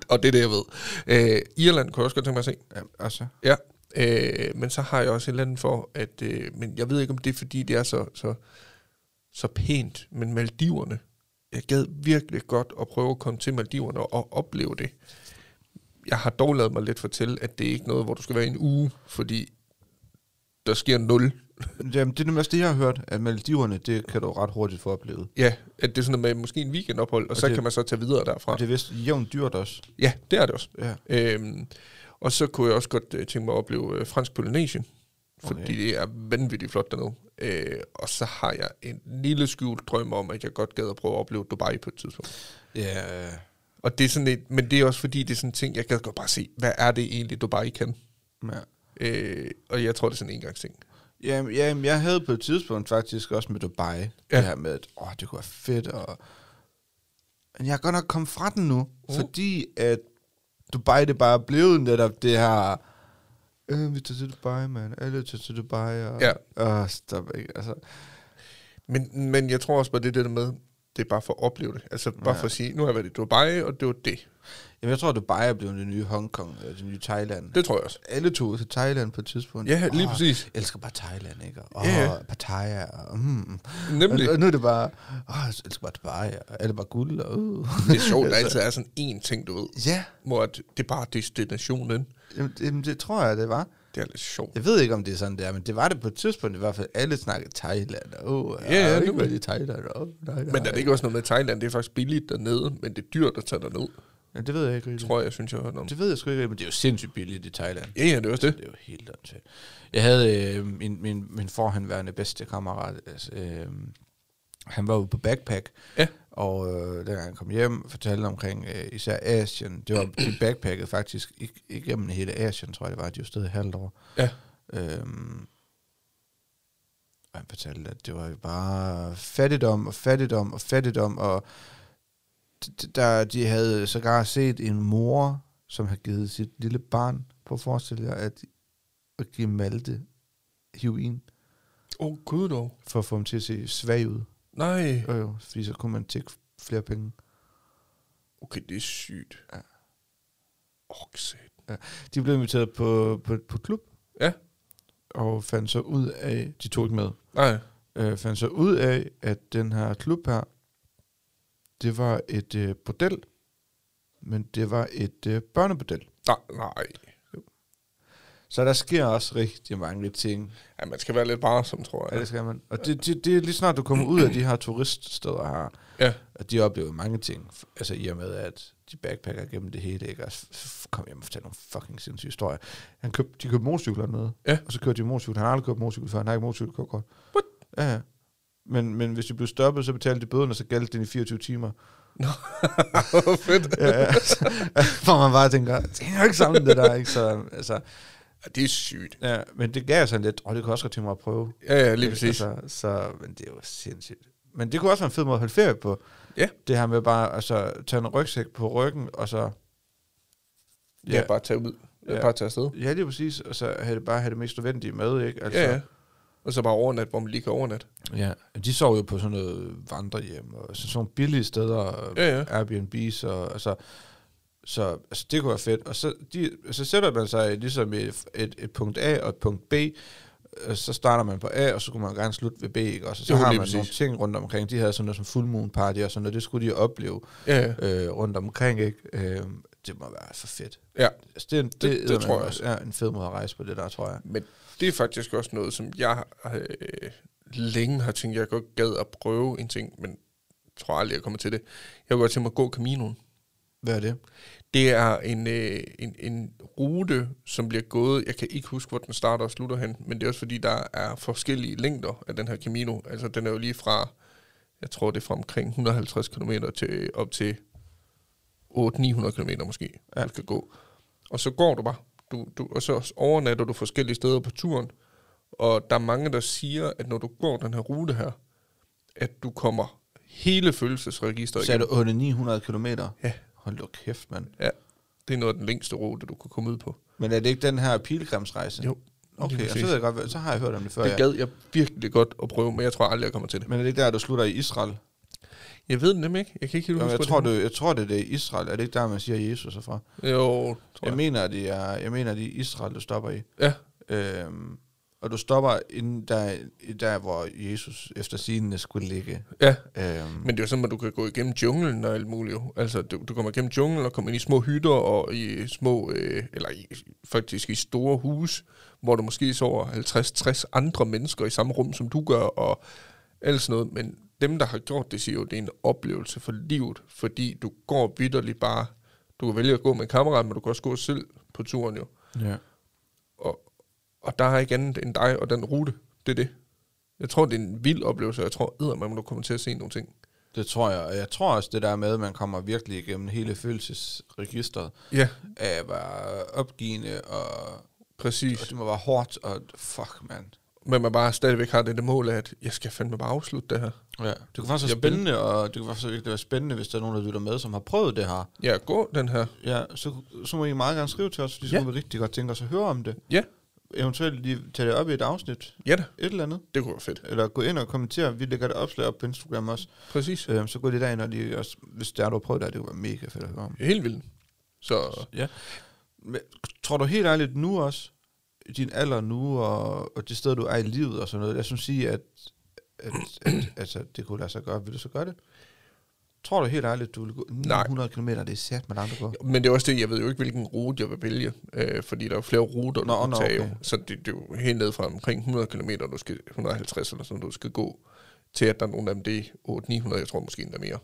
og det er det, jeg ved. Øh, Irland kunne jeg også godt tænke mig at se.
ja, altså,
Ja, øh, men så har jeg også en eller anden for, at, øh, men jeg ved ikke, om det er, fordi det er så, så, så pænt, men Maldiverne, jeg gad virkelig godt at prøve at komme til Maldiverne og opleve det. Jeg har dog lavet mig lidt fortælle, at det er ikke noget, hvor du skal være i en uge, fordi der sker nul.
jamen, det er nemlig også det, jeg har hørt, at Maldiverne, det kan du ret hurtigt få oplevet.
Ja, at det er sådan noget med måske en weekendophold, og, og så
det-
kan man så tage videre derfra.
Og det er vist jævnt dyrt også.
Ja, det er det også.
Ja.
Øhm, og så kunne jeg også godt øh, tænke mig at opleve øh, fransk Polynesien, fordi
Okay.
det er vanvittigt flot dernede. Øh, og så har jeg en lille skjult drøm om, at jeg godt gad at prøve at opleve Dubai på et tidspunkt.
Ja,
Og det er sådan et, men det er også fordi, det er sådan en ting, jeg gad godt bare se, hvad er det egentlig, Dubai kan?
ja.
Øh, og jeg tror, det er sådan en engangsting.
Jamen, jamen, jeg havde på et tidspunkt faktisk også med Dubai, ja. det her med, at åh, det kunne være fedt, og... Men jeg er godt nok kommet fra den nu, uh. fordi at Dubai, det bare er blevet netop det her... Øh, vi tager til Dubai, mand. Alle tager til Dubai, og...
Ja.
Åh, stop ikke, altså...
Men, men jeg tror også bare, det er det der med, det er bare for at opleve det. Altså bare
Ja.
for at sige, nu har jeg været i Dubai, og det var det.
Jamen, jeg tror, at Dubai er blevet det nye Hongkong, eller det nye Thailand. Det.
Det tror jeg også.
Alle tog til Thailand på et tidspunkt.
Ja, lige
Åh,
præcis.
Jeg elsker bare Thailand, ikke? Og
Ja, ja.
yeah. Pattaya, og... Mm.
Nemlig.
Og, og nu er det bare... Åh, jeg elsker bare Dubai, og alle bare guld, og... Uh.
Det er sjovt, der altid er sådan en ting, du ved,
Ja,
hvor at det er bare destinationen.
jamen, jamen, det tror jeg, det var.
Det er lidt sjovt.
Jeg ved ikke, om det er sådan, det er, men det var det på et tidspunkt. I hvert fald alle snakkede Thailand. Åh,
Ja, ja,
jeg har
det
ikke
var-
været i Thailand. Åh, nej, nej.
Men er det ikke også noget med Thailand? Det er faktisk billigt dernede, men det er dyrt at tage derned,
Ja, det ved jeg ikke rigtig.
tror jeg, synes jeg har hørt om.
Mm. Det ved jeg sgu ikke rigtig, men det er jo sindssygt billigt i Thailand.
Ja, ja, det er også
Det
det.
er jo helt åndssvagt. Jeg havde øh, min, min, min forhenværende bedste kammerat, altså, øh, han var ude på backpack,
Ja.
og øh, dengang han kom hjem, fortalte omkring øh, især Asien. Det var de backpackede faktisk ig- igennem hele Asien, tror jeg det var. De var stadig halvt år.
Ja.
Øhm, og han fortalte, at det var jo bare fattigdom og fattigdom og fattigdom, og d- d- der, de havde sågar set en mor, som havde givet sit lille barn på at forestille jer, at, at give Malte heroin,
Åh, oh, gud dog.
for at få ham til at se svag ud.
Nej.
Jo, jo, fordi så kunne man tække flere penge.
Okay, det er sygt.
Ja.
Åh, oh, sat.
De blev inviteret på, på, på klub,
Ja.
og fandt så ud af, de tog ikke med,
Nej.
øh, fandt så ud af, at den her klub her, Det var et øh, bordel, men det var et øh, børnebordel.
Nej, nej.
Så der sker også rigtig mange ting.
Ja, man skal være lidt varsom, tror
Ja,
jeg.
det skal man. Og det, det, det er lige snart, du kommer ud af de her turiststeder her,
Ja.
at de oplever mange ting. Altså i og med, at de backpacker gennem det hele, ikke? Og f- f- kom hjem og fortalte nogle fucking sindssyge historier. Han køb, de købte motorcykler med,
Ja.
og så kørte de motorcykel. Han har aldrig købt motorcykel før, han har ikke motorcykelkort. Ja, ja. Men, men hvis de blev stoppet, så betalte de bøden, og så galt den i 24 timer.
Fedt.
Ja, ja. Hvor man bare tænker, det hænger jo ikke sammen det der, ikke? Så, altså,
Ja, det er sygt.
ja, men det gav sådan lidt, og det kunne også godt tænke mig at prøve.
Ja, ja, lige
Ikke?
præcis.
Altså, så, men det er jo sindssygt. Men det kunne også være en fed måde at holde ferie på.
Ja.
Det her med bare altså, tage en rygsæk på ryggen, og så...
Ja, bare tage ud.
Ja.
Ja. Bare tage afsted.
ja lige præcis. Og så have det bare have det mest nødvendige med, ikke?
Altså. Ja, ja. Og så bare overnat, hvor man lige kan overnatte.
ja. De sov jo på sådan noget vandrehjem, og sådan nogle billige steder,
Ja, ja.
Airbnb's, og altså... Så altså, det kunne være fedt. Og så, de, så sætter man sig ligesom i et, et, et punkt A og et punkt B, Øh, så starter man på A, og så kunne man gerne slutte ved B, ikke? Og så, så
Jo,
har man
lige
præcis. nogle
præcis.
ting rundt omkring. De havde sådan noget som full moon party og sådan noget, det skulle de opleve
Ja, ja.
øh, rundt omkring, ikke? Øh, det må være for fedt.
ja.
Altså, det, er en, det,
det
det, det
tror jeg
også er en fed måde at rejse på det der, tror jeg.
Men det er faktisk også noget, som jeg øh, længe har tænkt, jeg godt gad at prøve en ting, men jeg tror aldrig, jeg kommer til det. Jeg kunne godt tænke mig at gå Caminoen.
Hvad er det?
Det er en, øh, en, en rute, som bliver gået. Jeg kan ikke huske, hvor den starter og slutter hen, men det er også fordi, der er forskellige længder af den her Camino. Altså, den er jo lige fra, jeg tror, det er fra omkring 150 km til op til 800-900 km måske,
Ja.
ja. du skal gå. Og så går du bare. Du, du, og så overnatter du forskellige steder på turen. Og der er mange, der siger, at når du går den her rute her, at du kommer hele følelsesregisteret
Så er det under 900 km?
Ja.
Hold da kæft, mand.
Ja, det er noget af den længste rute, du kunne komme ud på.
Men er det ikke den her pilgrimsrejse?
Jo,
Okay,
lige
og så ved jeg godt, hvad- så har jeg hørt om det før,
Det
ja.
gad jeg virkelig godt at prøve, men jeg tror aldrig, jeg kommer til det.
Men er det ikke der, du slutter i Israel?
Jeg ved det nemlig ikke. Jeg kan ikke helt
Jo,
huske,
jeg,
hvor
tror,
det
det, jeg tror, det er det i Israel. Er det ikke der, man siger Jesus er fra?
er. Jo, tror
Jeg
jeg.
mener, det er, jeg mener, det er Israel, du stopper i.
Ja,
Øhm, og du stopper inden der, i der, hvor Jesus efter sigende skulle ligge.
ja.
Øhm,
Men det er jo sådan, at du kan gå igennem junglen og alt muligt. jo. Altså, du, du kommer igennem junglen og kommer ind i små hytter og i små, øh, eller i, faktisk i store huse, hvor du måske sover 50-60 andre mennesker i samme rum, som du gør, og alt sådan noget. Men dem, der har gjort det, siger jo, at det er en oplevelse for livet, fordi du går vidderligt bare. Du kan vælge at gå med en kammerat, men du kan også gå selv på turen jo.
ja.
Og, og der er ikke andet end dig og den rute. Det er det. Jeg tror, det er en vild oplevelse, og jeg tror, eddermame, du kommer til at se nogle ting.
Det tror jeg, og jeg tror også det der med, at man kommer virkelig igennem hele følelsesregistret
Ja,
af at være opgivende, og,
præcis.
og det må være hårdt, og fuck, mand.
Men man bare stadigvæk har det, det mål af, at jeg skal fandme bare afslutte det her.
Ja. Det kan faktisk være
Jeg-
spændende, og det kan faktisk virkelig være spændende, hvis der er nogen, der lytter med, som har prøvet det her.
Ja, gå den her.
Ja, så, så må I meget gerne skrive til os, fordi så
Ja.
kunne vi rigtig godt tænke os at høre om det.
Ja,
Eventuelt lige tage det op i et afsnit,
ja da.
et eller andet.
Det kunne være fedt.
Eller gå ind og kommentere. Vi lægger det opslag op på Instagram også.
Præcis.
Øhm, så gå lige derind, og lige også, hvis der er, du har prøvet det, her, det kunne være mega fedt at høre om.
Helt vildt. Så
Ja. Men, tror du helt ærligt nu også, i din alder nu, og, og det sted, du er i livet og sådan noget, jeg synes sige, at, at, at altså, det kunne lade sig gøre. Vil du så gøre det? Tror du helt ærligt, du vil gå 900 km, det er sat med langt på?
Men det er også det, jeg ved jo ikke, hvilken rute jeg vil vælge, øh, fordi der er jo flere ruter,
Nå,
du kan
nå,
tage.
okay.
Okay. Så det, det er jo helt ned fra omkring 100 km, du skal, 150 eller sådan, du skal gå, til at der er nogle af dem, det er 800-900, jeg tror måske endda mere.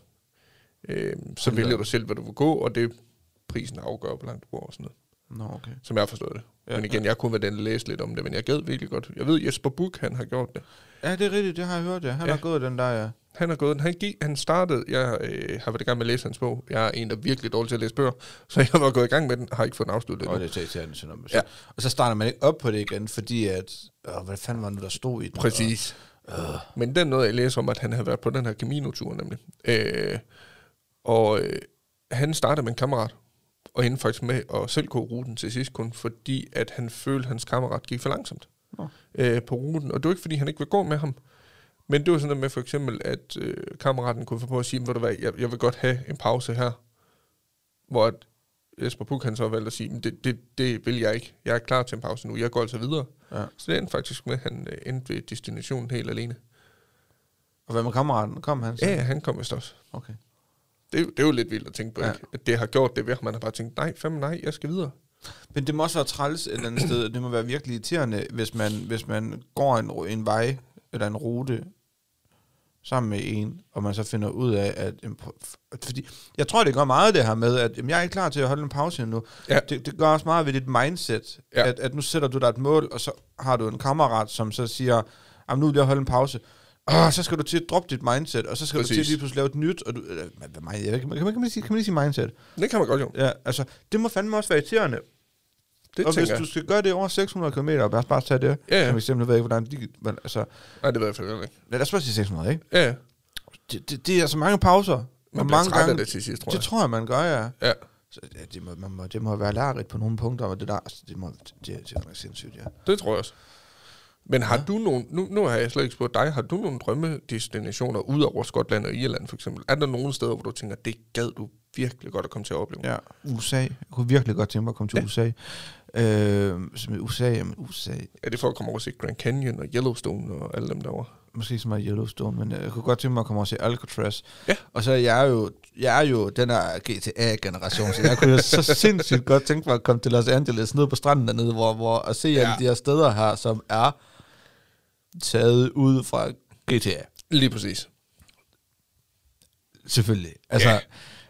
Øh, så
Hold da
vælger
op.
du selv, hvad du vil gå, og det er prisen der afgør, hvor langt du går og sådan noget,
Nå, okay.
som jeg har forstået det.
Ja,
Ja, men igen, jeg kunne være den læse lidt om det, men jeg gad virkelig godt. Jeg ved, Jesper Buch, han har gjort det.
Ja, det er rigtigt, det har jeg hørt, ja. Han ja.
Ja.
har gået den der, ja.
Han har gået, han, gik, han startede, jeg øh, har været i gang med at læse hans bog. Jeg er en, der er virkelig dårlig til at læse bøger, så jeg var gået i gang med den, har ikke fået den afsluttet. endnu.
Og det er irriterende sådan noget.
Ja.
Og så starter man ikke op på det igen, fordi at, åh, hvad fanden var det nu, der stod i den? øh.
Præcis. Men den noget, jeg læser om, at han havde været på den her Camino-tur nemlig. Øh, og øh, han startede med en kammerat, og endte faktisk med at selv gå ruten til sidst kun, fordi at han følte, at hans kammerat gik for langsomt
Nå.
øh, på ruten. Og det var ikke, fordi han ikke ville gå med ham. Men det var sådan noget med for eksempel, at øh, kammeraten kunne få på at sige, "Ved du hvad, jeg, jeg vil godt have en pause her. Hvor at Jesper Puk, han så valgte at sige, "Men det, det, det vil jeg ikke. Jeg er klar til en pause nu. Jeg går altså videre.
Ja.
Så det endte faktisk med, at han øh, endte ved destinationen helt alene.
Og hvad med kammeraten? Kom han? så?
Ja, ja, han kom vist også.
Okay.
Det, er jo- det er jo lidt vildt at tænke på,
Ja.
ja. at det har gjort det ved, at man har bare tænkt, nej, fem nej, jeg skal videre.
Men det må også være træls et eller andet sted. Det må være virkelig irriterende, hvis man, hvis man går en, ru- en vej eller en rute sammen med en, og man så finder ud af, at... jamen, prøv- f- Fordi jeg tror, det gør meget det her med, at jamen, jeg er ikke klar til at holde en pause endnu.
Ja.
Det, det gør også meget ved dit mindset,
Ja.
at, at nu sætter du dig et mål, og så har du en kammerat, som så siger, jamen, nu vil jeg holde en pause. Åh, så skal du til at droppe dit mindset, og så skal Præcis. du til
Præcis.
lige pludselig lave et nyt, og du... Eller, hvad- hvad mind- jeg ved ikke, kan man, kan, man sige, kan man lige sige mindset?
Det kan man godt jo.
Ja, altså, det må fandme også være irriterende,
Det
og hvis
tænker jeg.
du skal gøre det over 600 km, og lad os bare tage det
Ja,
ja.
ja.
som eksempel, nu ved jeg ikke, hvordan de... Men, altså,
Nej, det ved jeg faktisk ikke.
lad os bare sige 600, ikke?
Ja, ja.
Det, det, det er altså mange pauser.
man
og
bliver
mange
træt af det til sidst, tror
det
jeg.
tror jeg, man gør, ja.
Ja.
Så, ja det, må, man må, det må være lærerigt på nogle punkter, og det der, altså, det, må, det, det er nok sindssygt, ja.
Det tror jeg også. Men har du nogen, nu, nu har jeg slet ikke spurgt dig, har du nogle drømmedestinationer ud over Skotland og Irland for eksempel? Er der nogle steder, hvor du tænker, det gad du virkelig godt at komme til at opleve?
Ja, USA. Jeg kunne virkelig godt tænke mig at komme til ja.
Ja.
USA. Øh, som i USA, jamen USA.
Er det for at komme over og se Grand Canyon og Yellowstone og alle dem derovre?
Måske ikke så meget Yellowstone, men øh, jeg kunne godt tænke mig at komme og se Alcatraz.
Ja.
Og så er jeg jo, jeg er jo den her GTA-generation, så jeg kunne jo så sindssygt godt tænke mig at komme til Los Angeles, ned på stranden dernede, hvor, hvor, og se ja. alle
Ja.
de her steder her, som er taget ud fra GTA.
Lige præcis.
Selvfølgelig. Altså, ja.
Ja.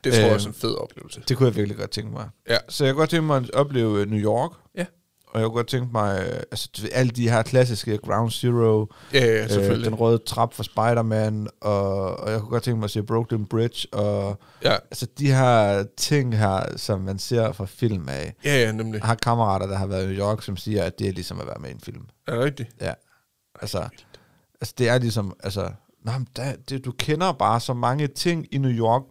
Det tror jeg
Øhm.
også er en fed oplevelse.
det kunne jeg virkelig godt tænke mig.
Ja.
Så jeg kunne godt tænke mig at opleve øh, New York.
Ja.
Og jeg kunne godt tænke mig, øh, altså du ved, alle de her klassiske Ground Zero, øh,
Ja, ja
øh,
selvfølgelig.
den røde trap fra Spider-Man, og, og jeg kunne godt tænke mig at se Brooklyn Bridge, og
ja.
altså de her ting her, som man ser fra film af.
ja, ja, nemlig.
Jeg har kammerater, der har været i New York, som siger, at det er ligesom at være med i en film.
Er det rigtigt?
Ja, altså, altså det er ligesom, altså, nå, men der, det, du kender bare så mange ting i New York,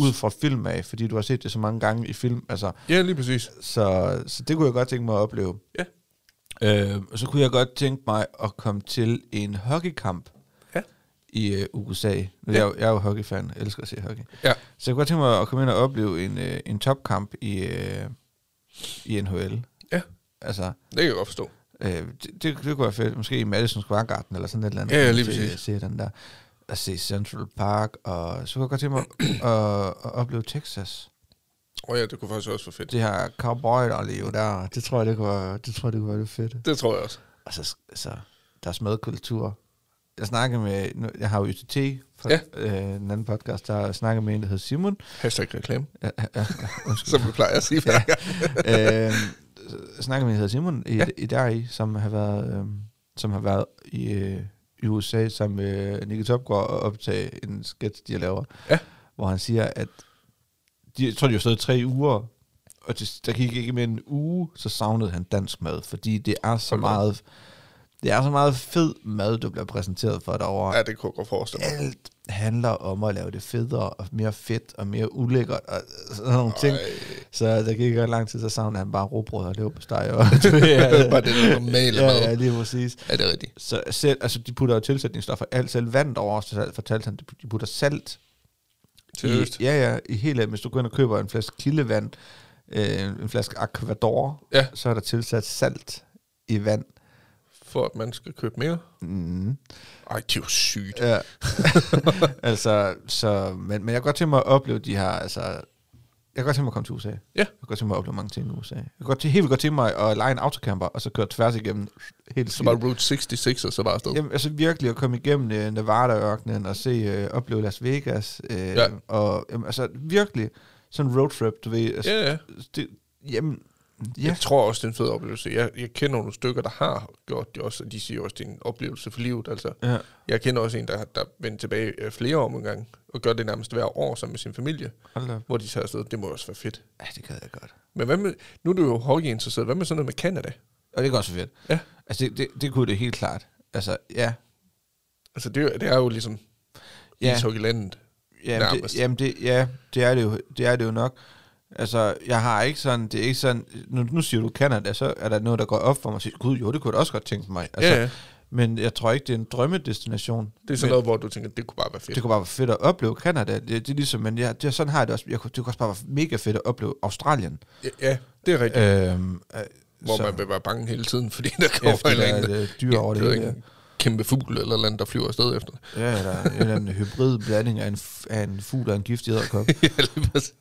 ud fra film af, fordi du har set det så mange gange i film, altså,
Ja, lige præcis.
så, så det kunne jeg godt tænke mig at opleve.
Ja.
Øh, og så kunne jeg godt tænke mig at komme til en hockeykamp
Ja.
i øh, USA. Ja. Jeg, er jo- jeg er jo hockeyfan, jeg elsker at se hockey.
Ja.
Så jeg kunne godt tænke mig at komme ind og opleve en, øh, en topkamp i, øh, i NHL.
Ja.
Altså,
Det kan jeg godt forstå.
øh, det, det, det kunne være fedt. Måske i Madison Square Garden eller sådan et eller andet.
Ja, ja, lige
Se-
præcis.
Se den der. At se Central Park, og så kunne jeg godt tænke mig at, at, at opleve Texas.
Åh oh, ja, det kunne faktisk også være fedt.
Det her cowboy, der lever der, det tror jeg, det kunne være, det tror jeg, det kunne være lidt fedt.
Det tror jeg også.
altså, sk- altså deres madkultur. Jeg snakkede med, nu, jeg har jo YTT, på, ja.
Ja.
øh, en anden podcast, der snakkede med en, der hedder Simon.
Hashtag reklame,
Ja, ja, ja, undskyld.
som vi plejer at sige.
Ja.
Ja.
øh, jeg snakkede med en, der hedder Simon, i, ja.
Ja.
i deri, som har været, øh, som har været i, øh, i USA sammen med øh, Nicky Topgaard og optage en sketch, de laver,
Ja.
hvor han siger, at de, jeg tror, de har stået i tre uger, og det, der gik ikke mere end en uge, så savnede han dansk mad, fordi det er så
Hold da op.
meget... Det er så meget fed mad, du bliver præsenteret for derovre.
ja, det kunne jeg godt forestille mig.
Alt handler om at lave det federe, og mere fedt, og mere ulækkert, og sådan nogle ting.
Ej.
Så der gik ikke lang tid, så savnede han bare robrød og leverpostej. Og
Bare det normale
ja,
mad.
ja, lige præcis.
Er det rigtigt?
Så selv, altså, de putter jo tilsætningsstoffer alt selv vand over, så selv- fortalte han, de putter salt. I,
Seriøst?
ja, ja, i hele, hvis du går ind og køber en flaske kildevand, øh, en flaske Aquador,
Ja.
så er der tilsat salt i vand.
For at man skal købe mere?
Mm.
Ej, det er jo sygt.
Ja. altså, så, men, men jeg kan godt tænke mig at opleve de her, altså, jeg kan godt tænke mig at komme til USA. Ja. Jeg kan godt tænke mig at opleve mange ting i USA. Jeg kan godt, helt vildt godt tænke mig at lege en autocamper, og så køre tværs igennem helt
Så bare Route 66, og så bare afsted.
Jamen, altså virkelig at komme igennem øh, Nevada-ørkenen og se, øh, opleve Las Vegas. Øh, ja.
Ja.
Og jamen, altså virkelig sådan en roadtrip, du ved. Altså,
Ja, ja.
det, jamen, ja.
Jeg tror også, det er en fed oplevelse. Jeg, jeg kender nogle stykker, der har gjort det også, og de siger også, det er en oplevelse for livet. Altså,
ja.
jeg kender også en, der, der vendte tilbage øh, flere år en gang, og gør det nærmest hver år sammen med sin familie,
Hold da op.
hvor de tager afsted. Det må også være fedt.
Ja, det gad jeg godt.
Men hvad med, nu er du jo hockeyinteresseret. Hvad med sådan noget med Canada?
Og det er godt så fedt.
Ja.
Altså, det, det, det kunne det helt klart. Altså, ja.
Altså, det, er jo- det er jo ligesom
Ja.
ja. ishockeylandet.
Jamen, det,
Nærmest.
jamen det, ja, det er det, jo, det er det jo nok. Altså, jeg har ikke sådan, det er ikke sådan, nu, nu siger du Canada, så er der noget, der går op for mig og siger, gud jo, det kunne jeg da også godt tænke mig. Altså,
Ja, ja.
Men jeg tror ikke, det er en drømmedestination.
Det er sådan noget, hvor du tænker, det kunne bare være fedt.
Det kunne bare være fedt at opleve Canada. Det, det er ligesom, men jeg, det, er- sådan har jeg det også. Jeg, kunne- det kunne også bare være mega fedt at opleve Australien.
Ja, ja det er rigtigt.
Øhm, øh,
Hvor
så-
man vil være bange hele tiden, fordi der
Ja,
kommer
fordi
ja,
der
en
er
eller
øh, dyr over det
anden
hele.
en kæmpe fugl eller noget, der flyver afsted efter det.
Ja, eller en eller anden hybrid blanding af en, f- af en fugl og en giftig æderkop.
ja, lige præcis.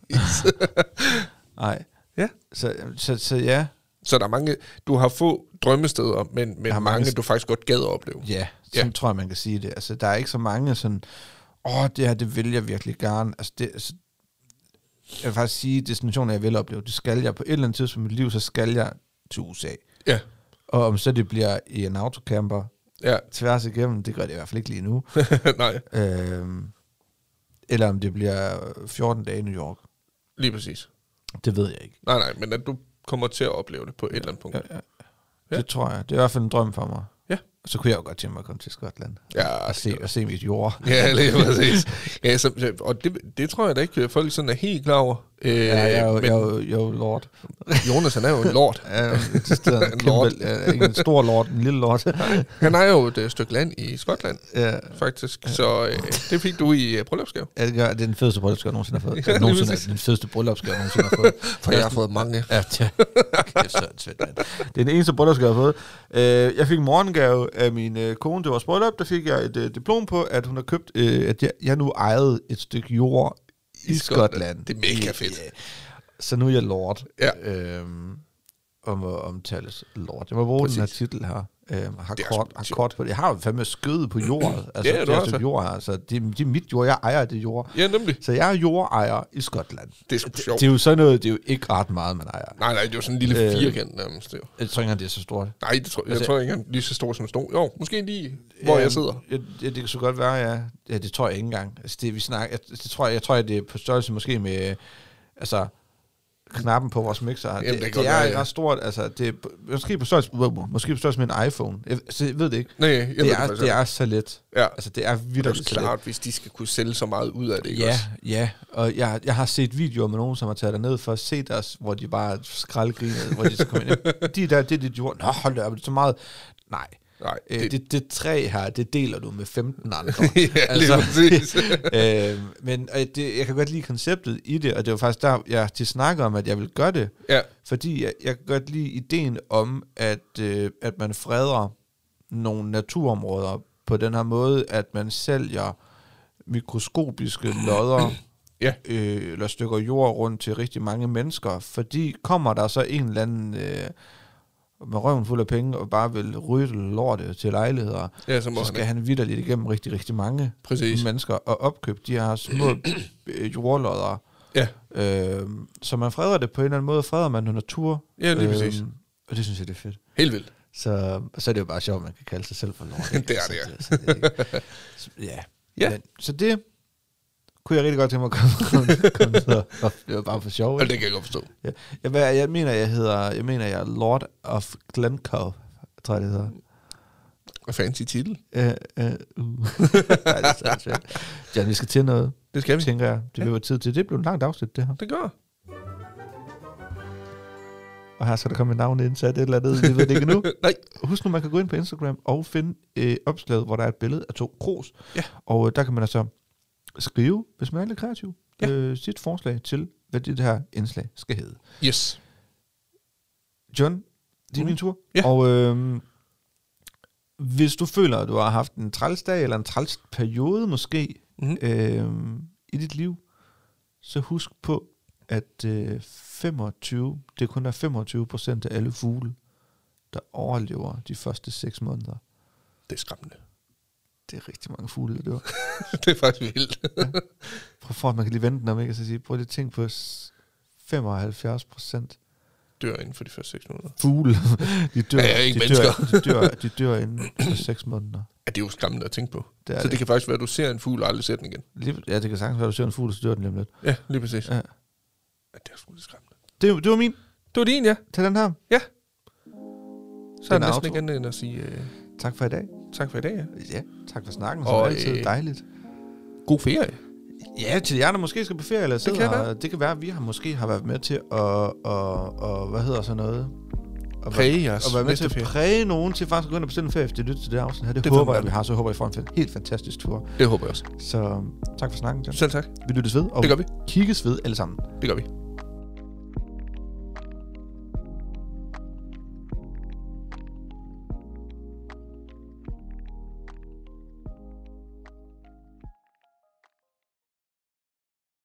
Nej.
Ja.
Så, så, så ja.
Så der er mange, du har få drømmesteder, men, men
har
mange,
mange
mange,
st-
du faktisk godt gad at opleve.
Ja,
Ja.
sådan tror jeg, man kan sige det. Altså, der er ikke så mange sådan, åh, det her, det vil jeg virkelig gerne. Altså, det, altså, jeg vil faktisk sige, destinationer, jeg vil opleve, det skal jeg på et eller andet tidspunkt i mit liv, så skal jeg til USA.
Ja,
Og om så det bliver i en autocamper
ja.
tværs igennem, det gør det i hvert fald ikke lige nu.
nej,
øhm, eller om det bliver 14 dage i New York.
lige præcis.
Det ved jeg ikke.
Nej, nej, men at du kommer til at opleve det på et eller andet punkt.
Ja,
Ja,
ja.
Ja.
Det tror jeg. Det er i hvert fald en drøm for mig.
Ja.
Og så kunne jeg jo godt tænke mig at komme til Skotland.
ja,
Og se, og se mit jord.
ja lige præcis. Ja, så, og det, det tror jeg da ikke, folk sådan er helt klar over. Øh,
Ja, jeg er jo,
men
jeg er jo, jeg er jo lord.
Jonas, han er jo en lord.
Jeg er jo decideret en,
En
kæmpe,
lord.
ja, ikke en stor lord, en lille lord.
Han er jo et øh, stykke land i Skotland,
ja,
faktisk. Så øh, det fik du i øh, bryllupsgave.
Ja, det, gør, det er den fedeste bryllupsgave, jeg nogensinde har fået.
Ja,
Ja,
lige
nogensinde,
præcis.
den fedeste bryllupsgave, jeg nogensinde har fået.
For jeg har fået mange.
Ja, det, kæft, så er det, fedt, mand. det er den eneste bryllupsgave, jeg har fået. Øh, jeg fik en morgengave af min øh, kone til vores bryllup. Der fik jeg et øh, diplom på, at hun har købt, øh, at jeg, jeg nu ejede et stykke jord i,
I Skotland.
Skotland.
Det er mega fedt.
Ja. Så nu er jeg lord.
Ja.
Øhm, om at omtales lord. Jeg må bruge Præcis. den her
Præcis.
titel her. Øhm, har,
Det er
kort,
også-
har kort på det. Jeg har jo fandme skød på jordet. Altså,
Ja, ja,
det
du
er
har
et stykke
så.
jord her. Så det, er- det er mit jord. Jeg ejer det jord.
Ja, nemlig.
Så jeg er jordejer i Skotland.
Det er sgu sjovt.
Det er jo sådan noget, det er jo ikke ret meget, man ejer.
Nej, nej, det er jo sådan en lille
Øh.
firkant nærmest. Det er jo-
Jeg tror ikke, engang, det er så stort.
Nej, det tror, jeg
Altså-
tror ikke engang lige så stor som stor. Jo, måske lige, hvor jeg sidder.
Øhm, Ja, ja, det kan så godt være, ja. ja det tror jeg ikke engang. Altså, det, vi snakker, jeg, det tror jeg, jeg tror, det er på størrelse måske med, øh, altså, knappen på vores mixer. Jamen,
det
det,
kan
det,
godt
det er
være,
være,
ja.
ret stort, altså, det er på- måske på størrelse, wow, måske på størrelse med en iPhone. Jeg, altså, jeg ved det ikke.
Nej, jeg ved
det, er,
faktisk
det
ikke.
er så let.
Ja.
Altså, det er
Det er
virkelig
jo
så let.
klart, hvis de skal kunne sælge så meget ud af det, ikke
Ja,
også?
ja, og jeg, jeg har set videoer med nogen, som har taget ned for at se deres, hvor de bare skraldgrinede, hvor de så kom ind. De der, det er dit jord. Nå, hold da op, det er så meget. Nej,
Nej,
øh,
det-
det, det, det træ her, det deler du med 15 andre. Altså,
ja, lige præcis.
øh, men øh, det, jeg kan godt lide konceptet i det, og det var faktisk der, jeg til snakker om, at jeg vil gøre det,
ja,
fordi jeg, jeg kan godt lide ideen om, at, øh, at man freder nogle naturområder på den her måde, at man sælger mikroskopiske lodder
Ja.
øh, eller stykker jord rundt til rigtig mange mennesker, fordi kommer der så en eller anden øh, med røven fuld af penge og bare vil rydde lortet til lejligheder,
ja, så må
så
han
skal
ikke.
han vidderligt igennem rigtig, rigtig mange
Præcis.
mennesker og opkøbe de her små øh, jordlodder.
Ja.
Øh, så man freder det på en eller anden måde, freder man noget natur.
Ja, lige præcis.
Og det synes jeg, det er fedt.
Helt vildt.
Så, så er det jo bare sjovt, at man kan kalde sig selv for lort.
Det er det, ja.
ja. Så, det, så, ja.
Ja.
Men, så det kunne jeg rigtig godt tænke mig at komme, komme, komme ned og og det var bare for sjov.
Og
ikke?
det kan jeg godt forstå.
Ja. Jeg, hvad- jeg, mener, jeg hedder, jeg mener, jeg er Lord of Glencoe, tror jeg, det hedder.
Og fancy titel.
Øh, øh, uh. Nej, det er sandt svært. Jan, vi skal til noget.
Det skal vi.
Tænker jeg. Det vil være tid til. Det blev en langt afsnit, det her.
Det gør
Og her skal der komme et navn indsat et eller andet. Vi ved det ikke nu.
Øh, Nej.
Husk nu, man kan gå ind på Instagram og finde øh, opslaget, hvor der er et billede af to kros.
Ja.
Og øh, der kan man altså skrive, hvis man er lidt kreativ,
Ja.
ja. øh, sit forslag til, hvad det her indslag skal hedde.
Yes.
John, det er
Mhm.
min tur.
Ja.
Og øh, hvis du føler, at du har haft en trælsdag eller en træls periode måske
Mm-hmm.
øh, i dit liv, så husk på, at øh, 25, det kun er 25 procent af alle fugle, der overlever de første 6 måneder.
Det er skræmmende.
Det er rigtig mange fugle, der dør.
det er faktisk vildt.
Prøv for, at man kan lige vente den om, ikke? Og så sige, prøv lige at tænke på s- 75 procent
Dør inden for de første seks måneder.
fugle. De dør,
Ja, ja, ikke
de, dør, de, dør, de dør inden for 6 måneder.
Ja, det er jo skræmmende at tænke på.
Det er
Så det kan faktisk være, at du ser en fugl og aldrig ser den igen.
Lige, ja, det kan sagtens være, at du ser en fugl, så dør den lige om lidt.
Ja, lige præcis.
Ja.
Ja, det er sgu lidt skræmmende.
Det, det var min.
Det var din, ja.
Tag den her.
Ja. Så er
Den
det
er
næsten
outro.
ikke andet end at sige øh,
Tak for i dag.
tak for i dag. Ja.
Ja, tak for snakken. Som
Og,
og, altid
øh,
øh, dejligt.
God ferie.
Ja, til jer, der måske skal på ferie eller sidder
kan
her,
være.
Det kan være, at vi har måske har været med til at, og, og, hvad hedder sådan noget? At være-
Præge jeres
og være med til
næste ferie.
at præge nogen til faktisk at gå ind og bestille en ferie, efter de lytter til det her afsnit her. Det,
Det
det
får
håber
man.
jeg, vi har. Så håber jeg, I får en fe- helt fantastisk tur.
Det håber jeg også.
Så tak for snakken, John.
Selv tak.
Vi lyttes ved, og
Det gør vi.
kigges ved alle sammen.
Det gør vi.